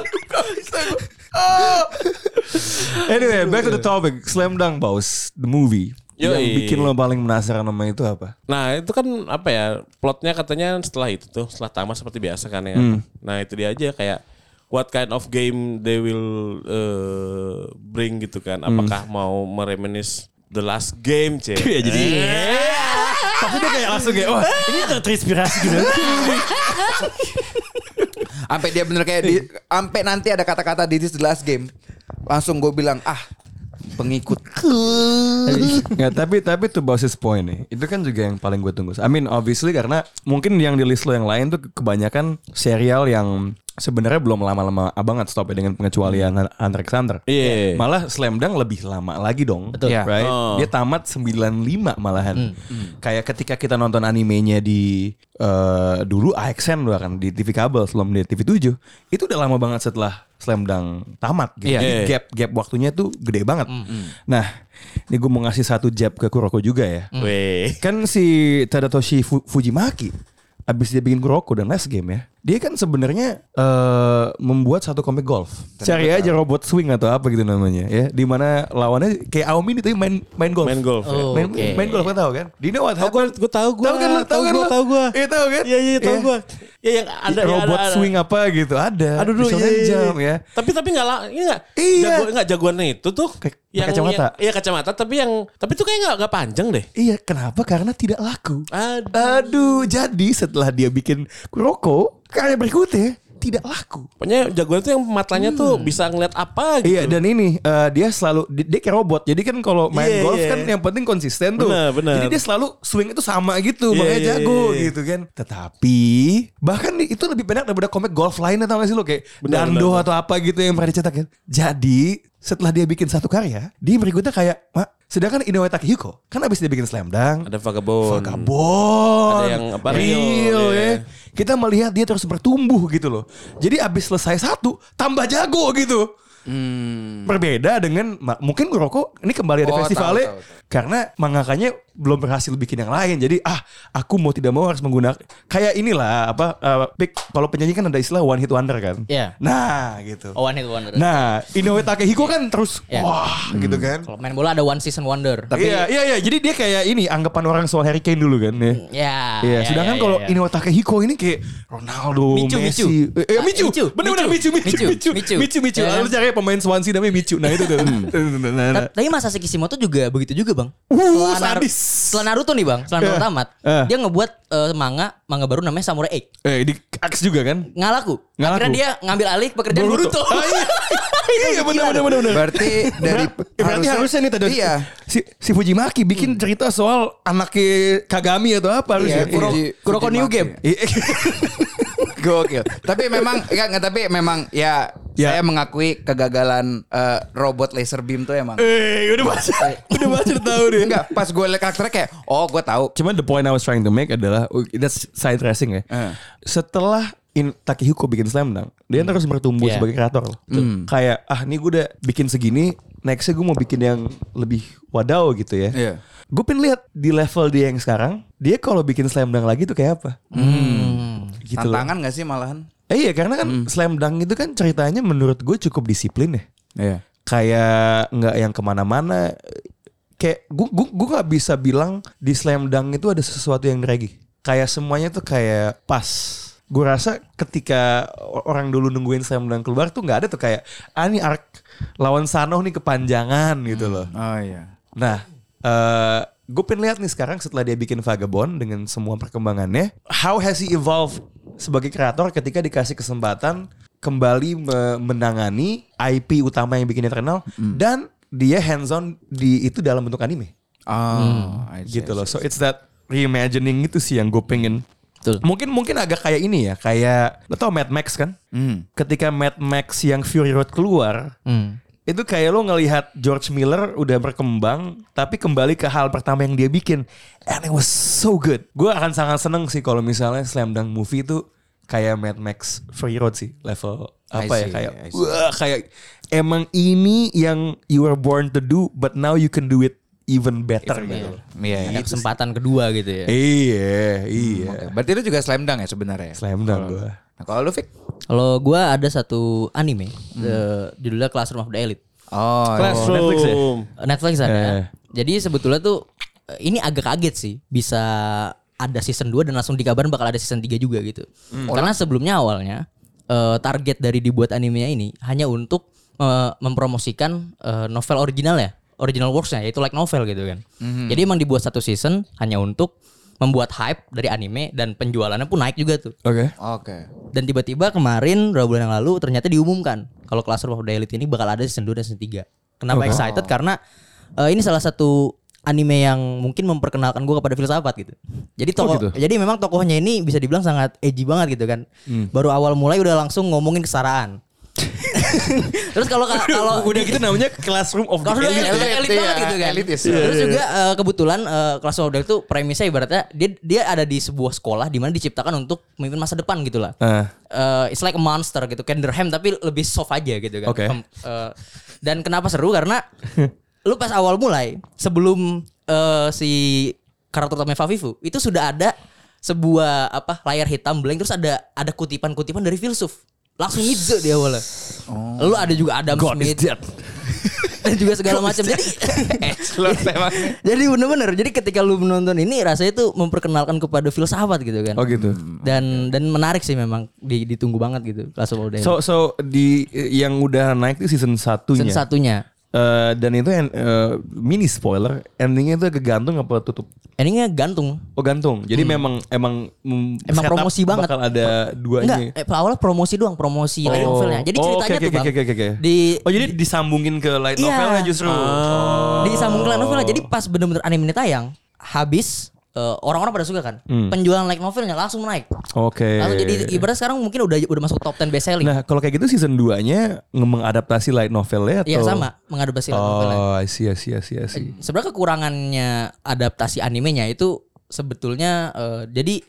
Speaker 3: Anyway, back to the topic. Slam Dunk Baus, the movie. Yang
Speaker 4: Yoi.
Speaker 3: bikin lo paling penasaran sama itu apa?
Speaker 4: Nah itu kan apa ya plotnya katanya setelah itu tuh setelah tamat seperti biasa kan ya. Nah itu dia aja kayak what kind of game they will uh, bring gitu kan. Apakah mau meremenis the last game cek?
Speaker 3: Iya, jadi- Maksudnya kayak langsung kayak, wah ini terinspirasi gitu.
Speaker 6: Sampai dia bener kayak di, sampai nanti ada kata-kata di this the last game. Langsung gue bilang, ah pengikut.
Speaker 3: Nggak, tapi tapi tuh Baus's point nih. Itu kan juga yang paling gue tunggu. I mean obviously karena mungkin yang di list lo yang lain tuh kebanyakan serial yang sebenarnya belum lama-lama banget stop ya dengan pengecualian Hunter x Hunter.
Speaker 4: Iya.
Speaker 3: Malah Slam Dunk lebih lama lagi dong. Betul.
Speaker 6: Iya.
Speaker 3: Right?
Speaker 4: Oh. Hmm.
Speaker 3: Dia tamat 95 malahan. Kayak ketika kita nonton animenya di eh, dulu AXN dulu kan di TV kabel sebelum di TV 7. Itu udah lama banget setelah Slam Dunk tamat gitu. Jadi
Speaker 4: Iya.
Speaker 3: gap gap waktunya tuh gede banget.
Speaker 4: Hmm,
Speaker 3: Nah, ini gue mau ngasih satu jab ke Kuroko juga ya.
Speaker 4: Hmm. Weh.
Speaker 3: Kan si Tadatoshi Fu- Fujimaki abis dia bikin Kuroko dan Last Game ya. Dia kan sebenarnya eh, membuat satu komik golf. Cari aja robot swing atau apa gitu namanya ya. Di mana lawannya kayak Aomi itu main main golf.
Speaker 4: Main golf. ya.
Speaker 5: Oh.
Speaker 3: Main,
Speaker 5: Oke.
Speaker 3: main golf kan tahu kan? Do you know what
Speaker 4: Tahu gue,
Speaker 3: happened?
Speaker 4: gue tahu gue.
Speaker 3: Tahu kan lu, tahu kan lu?
Speaker 4: Tahu gue.
Speaker 3: Iya, tahu kan?
Speaker 4: Iya, iya, tahu
Speaker 3: Iya.
Speaker 4: gue. Iya, yang ada yang
Speaker 3: robot
Speaker 4: ada- ada.
Speaker 3: swing apa gitu ada.
Speaker 4: Aduh, iya, dulu
Speaker 3: Di Shonen Jump ya.
Speaker 4: Tapi tapi nggak lah, ini nggak.
Speaker 3: Iya.
Speaker 4: Jago, nggak jagoannya itu tuh.
Speaker 3: Kayak kacamata.
Speaker 4: yang- Iya kacamata, tapi yang tapi tuh kayak nggak nggak panjang deh.
Speaker 3: Iya, kenapa? Karena tidak laku.
Speaker 4: Aduh.
Speaker 3: Aduh, jadi setelah dia bikin Kuroko, karya berikutnya tidak laku.
Speaker 4: Pokoknya jagoan tuh yang matanya tuh bisa ngeliat apa gitu.
Speaker 3: Hmm. Iya dan ini eh, dia selalu di- dia kayak robot. Jadi kan kalau main
Speaker 4: Iya,
Speaker 3: golf
Speaker 4: iya.
Speaker 3: kan yang penting konsisten tuh.
Speaker 4: Benar, benar.
Speaker 3: Jadi dia selalu swing itu sama gitu,
Speaker 4: Iya,
Speaker 3: makanya
Speaker 4: iya,
Speaker 3: jago
Speaker 4: iya.
Speaker 3: gitu kan. Tetapi bahkan di- itu lebih pendek daripada komik golf lainnya tau gak sih lo kayak
Speaker 4: Benar,
Speaker 3: Dando
Speaker 4: benar.
Speaker 3: atau apa gitu yang pernah dicetak ya. Jadi setelah dia bikin satu karya, dia berikutnya kayak Mak, sedangkan Inoue Takehiko kan abis dia bikin Slam Dunk,
Speaker 4: Ada vagabond.
Speaker 3: Kabon.
Speaker 4: Ada yang apa,
Speaker 3: real,
Speaker 4: real,
Speaker 3: ya.
Speaker 4: ya.
Speaker 3: Kita melihat dia terus bertumbuh gitu loh. Jadi abis selesai satu, tambah jago gitu.
Speaker 6: Hmm.
Speaker 3: Berbeda dengan ma- mungkin Kuroko ini kembali
Speaker 6: Oh,
Speaker 3: ada festivalnya
Speaker 6: tahu, tahu,
Speaker 3: karena mangakanya belum berhasil bikin yang lain. Jadi ah aku mau tidak mau harus menggunakan kayak inilah apa uh, pick- kalau penyanyi kan ada istilah one hit wonder kan.
Speaker 5: Iya.
Speaker 3: Nah gitu.
Speaker 5: Oh, one hit wonder.
Speaker 3: Nah, Inoue Takehiko kan terus
Speaker 5: Iya.
Speaker 3: wah gitu kan.
Speaker 5: Kalau main bola ada one season wonder.
Speaker 3: Tapi, iya, iya, iya. Jadi dia kayak ini anggapan orang soal Harry Kane dulu kan ya.
Speaker 5: Ya.
Speaker 3: Iya,
Speaker 5: ya,
Speaker 3: sedangkan
Speaker 5: ya,
Speaker 3: kalau
Speaker 5: ya, ya.
Speaker 3: Inoue Takehiko ini kayak Ronaldo,
Speaker 5: Micu,
Speaker 3: Messi,
Speaker 5: Micu.
Speaker 3: Eh, eh, Micu,
Speaker 5: Micu,
Speaker 3: bener-bener Micu,
Speaker 5: Micu,
Speaker 3: Micu, Micu,
Speaker 5: Micu,
Speaker 3: Micu,
Speaker 5: Micu.
Speaker 3: Micu, Micu.
Speaker 5: Ya kan?
Speaker 3: Lalu cari pemain Swansea namanya Micu. [laughs] Nah itu tuh. Nah, nah, nah.
Speaker 5: Ta- Tapi masa Kishimoto juga begitu juga bang.
Speaker 3: Wuh,
Speaker 5: Setelah Nar-
Speaker 3: sadis.
Speaker 5: Setelah Naruto nih bang, setelah Naruto tamat,
Speaker 3: Eh.
Speaker 5: dia ngebuat eh, manga manga baru namanya Samurai Eight.
Speaker 3: Eh, di Axe juga kan?
Speaker 5: Ngalaku.
Speaker 3: Nggak laku.
Speaker 5: Akhirnya dia ngambil alih pekerjaan Boruto.
Speaker 3: Boruto. [laughs] Ah, iya. Iya benar benar benar benar.
Speaker 6: Berarti dari
Speaker 3: Berarti harusnya nih tadi
Speaker 6: Iya.
Speaker 3: si, si Fujimaki bikin cerita soal anaknya Kagami atau apa harusnya.
Speaker 6: Iya,
Speaker 3: Kuro-
Speaker 6: Fuji-
Speaker 3: Kuroko
Speaker 6: Fujimaki.
Speaker 3: New Game. Iya. [laughs]
Speaker 6: Gokil. tapi memang enggak enggak tapi memang ya
Speaker 3: Ya.
Speaker 6: saya mengakui kegagalan eh, robot laser beam tuh emang.
Speaker 3: Eh, udah baca, udah baca tahu deh.
Speaker 6: Enggak, pas gue liat karakternya kayak oh gue tahu.
Speaker 3: Cuman the point I was trying to make adalah oh, that's side racing ya.
Speaker 6: Eh. Hmm.
Speaker 3: Setelah In, Takehiko bikin Slam Dunk, dia terus bertumbuh
Speaker 5: Iya.
Speaker 3: sebagai kreator. loh. Kayak ah nih gue udah bikin segini, nextnya gue mau bikin yang lebih wadaw gitu ya.
Speaker 6: Iya.
Speaker 3: Gue pengen lihat di level dia yang sekarang, dia kalau bikin Slam Dunk lagi tuh kayak apa? Gitu
Speaker 6: Hmm.
Speaker 3: loh.
Speaker 6: Tantangan Hmm. gak sih malahan?
Speaker 3: Eh, iya karena kan Slam Dunk itu kan ceritanya menurut gue cukup disiplin ya.
Speaker 6: Iya.
Speaker 3: kayak nggak yang kemana-mana kayak gue gue gue nggak bisa bilang di slam dunk itu ada sesuatu yang dragi kayak semuanya tuh kayak pas gue rasa ketika o- orang dulu nungguin slam dunk keluar tuh nggak ada tuh kayak ah ini arc lawan Sanoh nih kepanjangan gitu loh
Speaker 6: Oh iya.
Speaker 3: Nah, gue pengen lihat nih sekarang setelah dia bikin Vagabond dengan semua perkembangannya, how has he evolved sebagai kreator ketika dikasih kesempatan kembali me- menangani IP utama yang bikin dia terkenal dan dia hands on di itu dalam bentuk anime
Speaker 6: Oh,
Speaker 3: Hmm, gitu loh. So it's that reimagining itu sih yang gue pengen. Mungkin mungkin agak kayak ini ya, kayak lo tau Mad Max kan?
Speaker 6: Hmm.
Speaker 3: Ketika Mad Max yang Fury Road keluar,
Speaker 5: Hmm,
Speaker 3: itu kayak lo ngelihat George Miller udah berkembang, tapi kembali ke hal pertama yang dia bikin, and it was so good. Gue akan sangat seneng sih kalau misalnya Slam Dunk movie itu kayak Mad Max Fury Road sih level
Speaker 6: I
Speaker 3: apa ya
Speaker 6: see,
Speaker 3: kayak
Speaker 6: I see.
Speaker 3: wah kayak emang ini yang you were born to do but now you can do it even better gitu. loh.
Speaker 6: Iya,
Speaker 5: Ada
Speaker 6: gitu sih.
Speaker 5: kesempatan kedua gitu ya.
Speaker 3: Iya, iya.
Speaker 6: Hmm, Oke, Berarti lu juga slam dunk ya sebenarnya? ya?
Speaker 3: Slam dunk gue.
Speaker 6: Nah, kalau lu Fik?
Speaker 5: Kalau gua ada satu anime,
Speaker 3: Hmm.
Speaker 5: eh, judulnya Classroom of the Elite.
Speaker 6: Oh,
Speaker 3: Netflix ya?
Speaker 4: Classroom.
Speaker 5: Netflix
Speaker 3: Eh.
Speaker 5: ada. Jadi sebetulnya tuh eh, ini agak kaget sih bisa ada season 2 dan langsung dikabarin bakal ada season 3 juga gitu. Karena sebelumnya awalnya eh, target dari dibuat animenya ini hanya untuk eh, mempromosikan eh, novel original ya, original worksnya yaitu like novel gitu kan. Jadi emang dibuat satu season hanya untuk membuat hype dari anime dan penjualannya pun naik juga tuh.
Speaker 3: Oke.
Speaker 6: Oke.
Speaker 5: Dan tiba-tiba kemarin dua bulan yang lalu ternyata diumumkan kalau Classroom of the Elite ini bakal ada season 2 dan season 3. Kenapa excited? Karena eh, ini salah satu anime yang mungkin memperkenalkan gue kepada filsafat gitu. Jadi tokoh,
Speaker 3: gitu.
Speaker 5: jadi memang tokohnya ini bisa dibilang sangat edgy banget gitu kan. Baru awal mulai udah langsung ngomongin kesetaraan. Terus kalau kalau
Speaker 3: Udah gitu namanya Classroom of the
Speaker 5: Kalau elit,
Speaker 3: Elite.
Speaker 5: elit,
Speaker 6: Elite,
Speaker 5: banget
Speaker 6: iya,
Speaker 5: gitu kan.
Speaker 6: elitis.
Speaker 5: Terus juga eh, kebetulan eh, kelas Class of Elite itu premisnya ibaratnya dia dia ada di sebuah sekolah di mana diciptakan untuk memimpin masa depan gitu lah.
Speaker 3: Ah.
Speaker 5: Eh, it's like a monster gitu, Kenderham tapi lebih soft aja gitu kan.
Speaker 3: Oke.
Speaker 5: Kem- eh, dan kenapa seru
Speaker 3: [laughs]
Speaker 5: karena lu pas awal mulai sebelum eh, si karakter utamanya Favifu itu sudah ada sebuah apa layar hitam blank terus ada ada kutipan-kutipan dari filsuf langsung hijau dia awalnya. Lu ada juga Adam
Speaker 3: Oh. God is
Speaker 5: Smith
Speaker 3: dead.
Speaker 5: [laughs] dan juga segala macam. Jadi [laughs] Eh. Jadi bener-bener. Jadi ketika lu menonton ini rasanya itu memperkenalkan kepada filsafat gitu kan.
Speaker 3: Oh gitu.
Speaker 5: Dan dan menarik sih memang di- ditunggu banget gitu. Class of Old Days.
Speaker 3: So iya. so di yang udah naik di season satunya.
Speaker 5: Season satunya.
Speaker 3: Eh, dan itu en- eh, mini spoiler endingnya itu kegantung apa tutup
Speaker 5: Endingnya gantung.
Speaker 3: oh gantung jadi
Speaker 4: Hmm.
Speaker 3: memang emang mm,
Speaker 5: Emang
Speaker 3: setup
Speaker 5: promosi banget.
Speaker 3: bakal ada duanya
Speaker 5: Enggak, eh, awalnya promosi doang, promosi light novelnya. Jadi ceritanya
Speaker 3: Oh.
Speaker 5: tuh
Speaker 3: oke, oke,
Speaker 5: Bang,
Speaker 3: oke, oke, oke.
Speaker 5: di
Speaker 3: oh jadi disambungin ke light
Speaker 5: eh, Iya. Ah.
Speaker 3: novelnya justru oh.
Speaker 5: disambung ke light novelnya. Jadi pas bener-bener anime ini tayang, habis eh, orang-orang pada suka kan. Penjualan light novelnya langsung naik.
Speaker 3: Hmm. oke
Speaker 5: Lalu jadi ibarat sekarang mungkin udah udah masuk top 10 best selling.
Speaker 3: nah kalau kayak gitu season 2 nya mengadaptasi light novelnya atau
Speaker 5: Iya sama, mengadaptasi light novelnya. Eh.
Speaker 3: Oh, I see, I see, I see, I see.
Speaker 5: sebenarnya kekurangannya adaptasi animenya itu sebetulnya eh, jadi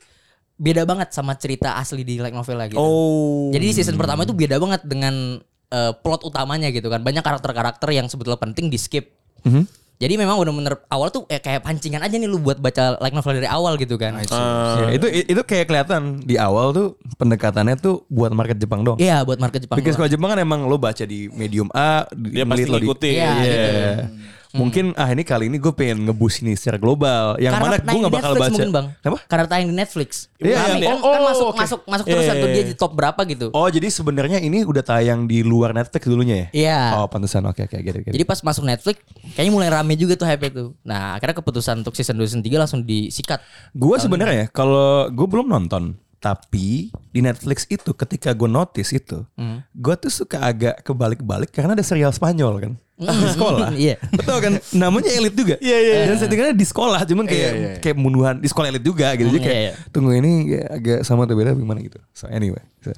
Speaker 5: beda banget sama cerita asli di light novel gitu.
Speaker 3: Oh.
Speaker 5: Jadi di season pertama itu beda banget dengan eh, plot utamanya gitu kan. Banyak karakter-karakter yang sebetulnya penting di skip.
Speaker 3: Mhm.
Speaker 5: Jadi memang bener-bener awal tuh eh, kayak pancingan aja nih lu buat baca light novel dari awal gitu kan.
Speaker 3: Ya, itu itu kayak kelihatan di awal tuh pendekatannya tuh buat market Jepang dong.
Speaker 5: Iya buat market Jepang.
Speaker 3: Because
Speaker 5: doang.
Speaker 3: kalau Jepang kan emang lo baca di medium A,
Speaker 4: Dia pasti
Speaker 3: lo di-
Speaker 4: ngikutin.
Speaker 5: Iya,
Speaker 3: Iya.
Speaker 5: gitu.
Speaker 3: Mungkin ah ini kali ini gue pengen ngebus ini secara global. Yang
Speaker 5: Karena
Speaker 3: mana gue
Speaker 5: tayang
Speaker 3: nggak
Speaker 5: di
Speaker 3: bakal
Speaker 5: Netflix
Speaker 3: baca.
Speaker 5: mungkin bang.
Speaker 3: Apa?
Speaker 5: Karena tayang di Netflix.
Speaker 3: Iya,
Speaker 5: Kami
Speaker 3: iya.
Speaker 5: kan, kan
Speaker 4: Oh,
Speaker 5: masuk
Speaker 4: oke.
Speaker 5: masuk masuk terus
Speaker 4: Iya,
Speaker 5: satu
Speaker 4: iya,
Speaker 5: dia
Speaker 4: iya.
Speaker 5: di top berapa gitu.
Speaker 3: Oh jadi sebenarnya ini udah tayang di luar Netflix dulunya ya?
Speaker 5: Iya.
Speaker 3: Oh pantesan oke oke gitu
Speaker 5: Jadi pas masuk Netflix kayaknya mulai rame juga tuh hype itu. Nah akhirnya keputusan untuk season 2 season 3 langsung disikat.
Speaker 3: Gue sebenarnya ya, kalau gue belum nonton, tapi di Netflix itu ketika gue notice itu, gue tuh suka agak kebalik-balik karena ada serial Spanyol kan di sekolah.
Speaker 5: Iya.
Speaker 3: Betul kan? Namanya elit juga. Iya iya. Dan settingannya di sekolah, cuman kayak kayak pembunuhan di sekolah elit juga gitu. Jadi
Speaker 5: Hmm,
Speaker 3: kayak
Speaker 5: iya, iya.
Speaker 3: tunggu ini kayak agak sama atau beda gimana gitu. So anyway. So,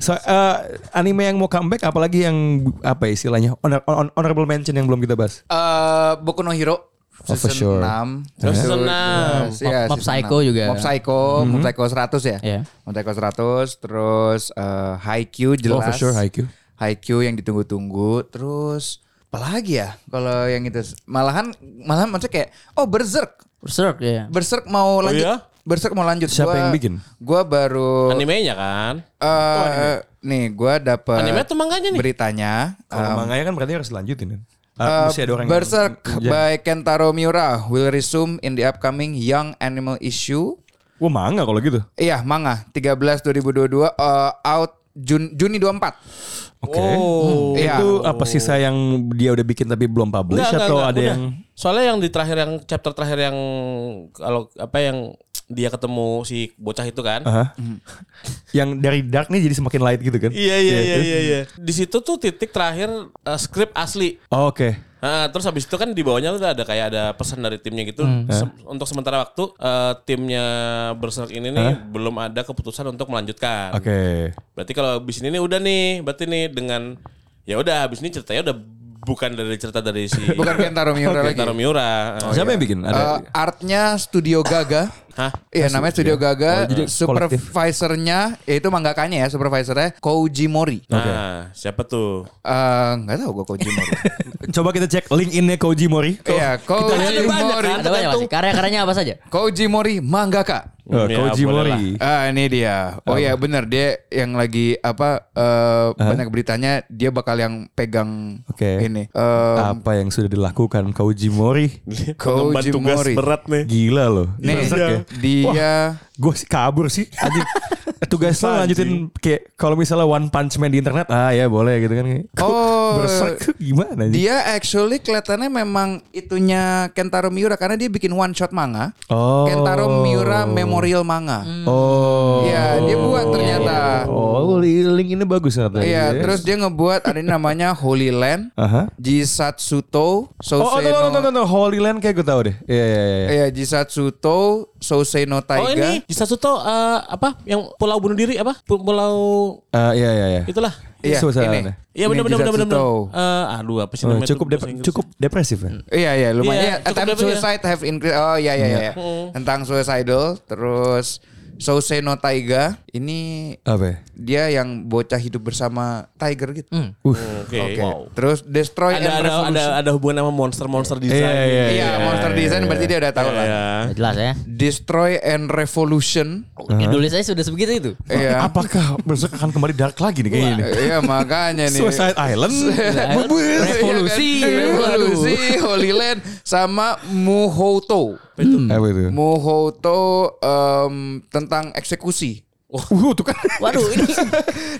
Speaker 3: so, eh, anime yang mau comeback apalagi yang apa ya istilahnya honor- honor- honorable mention yang belum kita bahas.
Speaker 6: Eh, Boku no Hero
Speaker 3: Oh, for
Speaker 6: season
Speaker 3: sure.
Speaker 6: 6.
Speaker 4: Terus
Speaker 6: Itu,
Speaker 4: season enam.
Speaker 6: yes, iya,
Speaker 5: Mob- Mob
Speaker 6: season
Speaker 5: Psycho
Speaker 6: enam.
Speaker 5: juga.
Speaker 6: Mob Psycho,
Speaker 3: Mhm.
Speaker 6: Mob Psycho 100 ya.
Speaker 5: Iya.
Speaker 6: Mob Psycho 100, terus eh, Haikyuu jelas.
Speaker 3: Oh, for sure, Haikyuu.
Speaker 6: Haikyuu yang ditunggu-tunggu, terus apalagi ya kalau yang itu malahan malahan maksudnya kayak oh Berserk. iya.
Speaker 5: Berserk ya.
Speaker 6: Berserk mau lanjut.
Speaker 4: iya?
Speaker 6: Berserk mau lanjut.
Speaker 3: Oh,
Speaker 6: Gua-
Speaker 3: Siapa yang bikin?
Speaker 6: Gua baru
Speaker 4: Animenya kan?
Speaker 6: eh nih gua dapet
Speaker 4: Anime atau manganya nih?
Speaker 6: beritanya
Speaker 3: Kalau manganya kan berarti harus lanjutin kan.
Speaker 6: Uh,
Speaker 3: Ah, mesti ada orang yang-
Speaker 6: Berserk
Speaker 3: Ya.
Speaker 6: by Kentaro Miura will resume in the upcoming Young Animal Issue.
Speaker 3: Wah manga kalau gitu.
Speaker 6: Iya, manga 13 2022 uh, out Jun Juni 24.
Speaker 3: Oke.
Speaker 4: Oh.
Speaker 6: Iya.
Speaker 3: Itu apa sisa yang dia udah bikin tapi belum publish
Speaker 4: Enggak, enggak,
Speaker 3: atau
Speaker 4: enggak,
Speaker 3: ada
Speaker 4: udah.
Speaker 3: yang
Speaker 4: Soalnya yang di terakhir yang chapter terakhir yang kalau apa yang dia ketemu si bocah itu kan?
Speaker 3: Aha.
Speaker 6: Hmm.
Speaker 3: yang dari dark nih jadi semakin light gitu kan?
Speaker 4: Iya iya iya
Speaker 3: terus?
Speaker 4: iya iya. Di situ tuh titik terakhir eh, skrip asli.
Speaker 3: Oh, Oke.
Speaker 4: Nah, terus habis itu kan di bawahnya udah ada kayak ada pesan dari timnya gitu.
Speaker 6: Hmm.
Speaker 4: Sem- untuk sementara waktu eh, timnya Berserk
Speaker 6: Eh.
Speaker 4: ini nih belum ada keputusan untuk melanjutkan.
Speaker 3: Oke.
Speaker 4: Berarti kalau habis ini nih udah nih, berarti nih dengan ya udah habis ini ceritanya udah bukan dari cerita dari si
Speaker 6: [laughs] Bukan Kentaro Miura lagi.
Speaker 4: Kentaro Miura.
Speaker 3: Siapa
Speaker 4: iya.
Speaker 3: yang bikin? Ada.
Speaker 6: Uh, artnya Studio Gaga.
Speaker 4: Hah?
Speaker 6: Iya, namanya Studio Gaga.
Speaker 3: Oh, jadi kolektif.
Speaker 6: supervisornya yaitu mangakanya ya, supervisornya Koji Mori.
Speaker 4: Nah, siapa tuh?
Speaker 6: Eh, Nggak tahu gua Koji Mori.
Speaker 3: Coba kita cek LinkedIn-nya Koji Mori.
Speaker 6: Iya, Koji
Speaker 4: lihat banyak
Speaker 6: Mori.
Speaker 4: kan?
Speaker 5: Ada banyak masih. Karya-karyanya apa saja?
Speaker 6: Koji Mori mangaka.
Speaker 3: Oh,
Speaker 4: Ya,
Speaker 3: Koji
Speaker 4: boleh [laughs]
Speaker 3: Mori.
Speaker 6: Ah ini dia. Oh ya benar dia yang lagi apa eh, banyak beritanya dia bakal yang pegang
Speaker 3: Oke.
Speaker 6: ini.
Speaker 4: um,
Speaker 6: Eh,
Speaker 3: Apa yang sudah dilakukan Koji Mori?
Speaker 4: [laughs] Pengemban
Speaker 6: Koji
Speaker 4: tugas
Speaker 6: Mori.
Speaker 4: berat nih.
Speaker 3: Gila loh.
Speaker 6: nih
Speaker 4: Iya.
Speaker 6: dia
Speaker 3: Gue sih kabur sih.
Speaker 4: [laughs]
Speaker 3: Anjing. Tugas lo lanjutin kayak kalau misalnya One Punch Man di internet, ah ya boleh gitu kan.
Speaker 6: Oh.
Speaker 3: [laughs] Berserk gimana? anjing?
Speaker 6: dia actually kelihatannya memang itunya Kentaro Miura karena dia bikin one shot manga.
Speaker 3: Oh.
Speaker 6: Kentaro Miura Memorial Manga.
Speaker 3: Oh.
Speaker 6: Iya, dia buat ternyata.
Speaker 3: Oh, link ini bagus ternyata.
Speaker 6: Iya, terus dia ngebuat ada ini namanya Holy Land,
Speaker 3: Aha.
Speaker 6: Jisatsuto,
Speaker 3: Oh, oh,
Speaker 6: Sosei
Speaker 3: no, no, no, no,
Speaker 6: no,
Speaker 3: no. Holy Land kayak gue tau deh. Iya, iya, iya.
Speaker 6: Iya, Jisatsuto, Sosei no Taiga.
Speaker 4: Oh ini Jisatsuto eh, apa yang pulau bunuh diri apa? Pu- Pulau
Speaker 3: Eh, Iya, iya, iya.
Speaker 4: itulah.
Speaker 6: Iya,
Speaker 3: Susah
Speaker 6: ini.
Speaker 3: aneh.
Speaker 4: Iya
Speaker 6: Ini
Speaker 4: benar benar benar benar.
Speaker 6: Jisatsuto.
Speaker 4: Eh aduh apa sih
Speaker 3: Oh,
Speaker 4: namanya?
Speaker 3: cukup
Speaker 4: tuh
Speaker 3: dep-
Speaker 4: bahasa Inggris?
Speaker 3: cukup depresif ya.
Speaker 6: Iya iya lumayan.
Speaker 4: Iya,
Speaker 6: Iya,
Speaker 4: cukup
Speaker 6: attempt
Speaker 4: dapat ya. Hmm.
Speaker 6: suicide have increased. Oh iya iya iya. Tentang suicidal terus Sousei no Taiga ini
Speaker 3: Apa? ya?
Speaker 6: dia yang bocah hidup bersama tiger gitu.
Speaker 3: Uh.
Speaker 4: Oke.
Speaker 6: Oke.
Speaker 4: Wow.
Speaker 6: Terus Destroy
Speaker 4: Ada
Speaker 6: and
Speaker 4: ada ada
Speaker 6: Revolution.
Speaker 4: ada hubungan sama monster-monster design.
Speaker 3: Iya, iya,
Speaker 6: iya, monster design berarti dia udah tahu
Speaker 4: iya,
Speaker 6: lah.
Speaker 5: Ya, jelas ya.
Speaker 6: Destroy and Revolution.
Speaker 5: Ya, Dulu saya sudah sebegitu itu.
Speaker 6: Iya.
Speaker 3: Apakah besok akan kembali dark lagi nih kayaknya nih?
Speaker 6: Iya makanya nih.
Speaker 3: [laughs] Suicide Island.
Speaker 6: Iya kan?
Speaker 5: Revolusi.
Speaker 6: Revolusi, Holy Land sama Muhoto.
Speaker 3: Apa itu?
Speaker 6: Muhoto em, tentang eksekusi.
Speaker 3: Uh, tuh kan.
Speaker 5: Waduh ini.
Speaker 3: [laughs]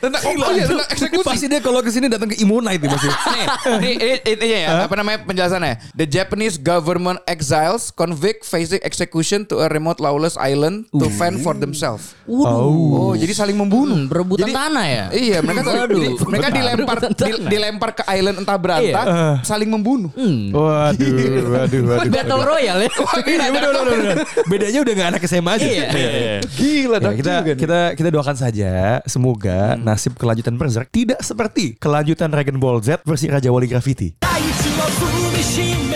Speaker 6: Tentang, oh, iya, tentang eksekusi.
Speaker 3: Pasti dia kalau kesini datang ke Imonite nih masih.
Speaker 6: Nih, [laughs] ini, ini, ini ya, apa namanya penjelasannya? The Japanese government exiles convict facing execution to a remote lawless island to fend for themselves.
Speaker 3: Oh.
Speaker 6: Oh, jadi saling membunuh.
Speaker 5: Hmm, berebutan tanah ya.
Speaker 6: Iya, mereka tuh-
Speaker 5: Waduh.
Speaker 6: jadi mereka dilempar
Speaker 5: Berebutan
Speaker 6: di-
Speaker 5: tanah.
Speaker 6: dilempar ke island entah berantah, saling membunuh.
Speaker 3: Waduh, waduh, waduh.
Speaker 5: Battle Royale ya.
Speaker 3: Iya, bener, bener, bener, bener. Bedanya udah gak anak SMA aja.
Speaker 5: Iya.
Speaker 3: Gila, ya, kita, kita kita doakan saja semoga nasib kelanjutan Berserk tidak seperti kelanjutan Dragon Ball Z versi Raja Wali Graffiti.
Speaker 2: 大地を踏みしめ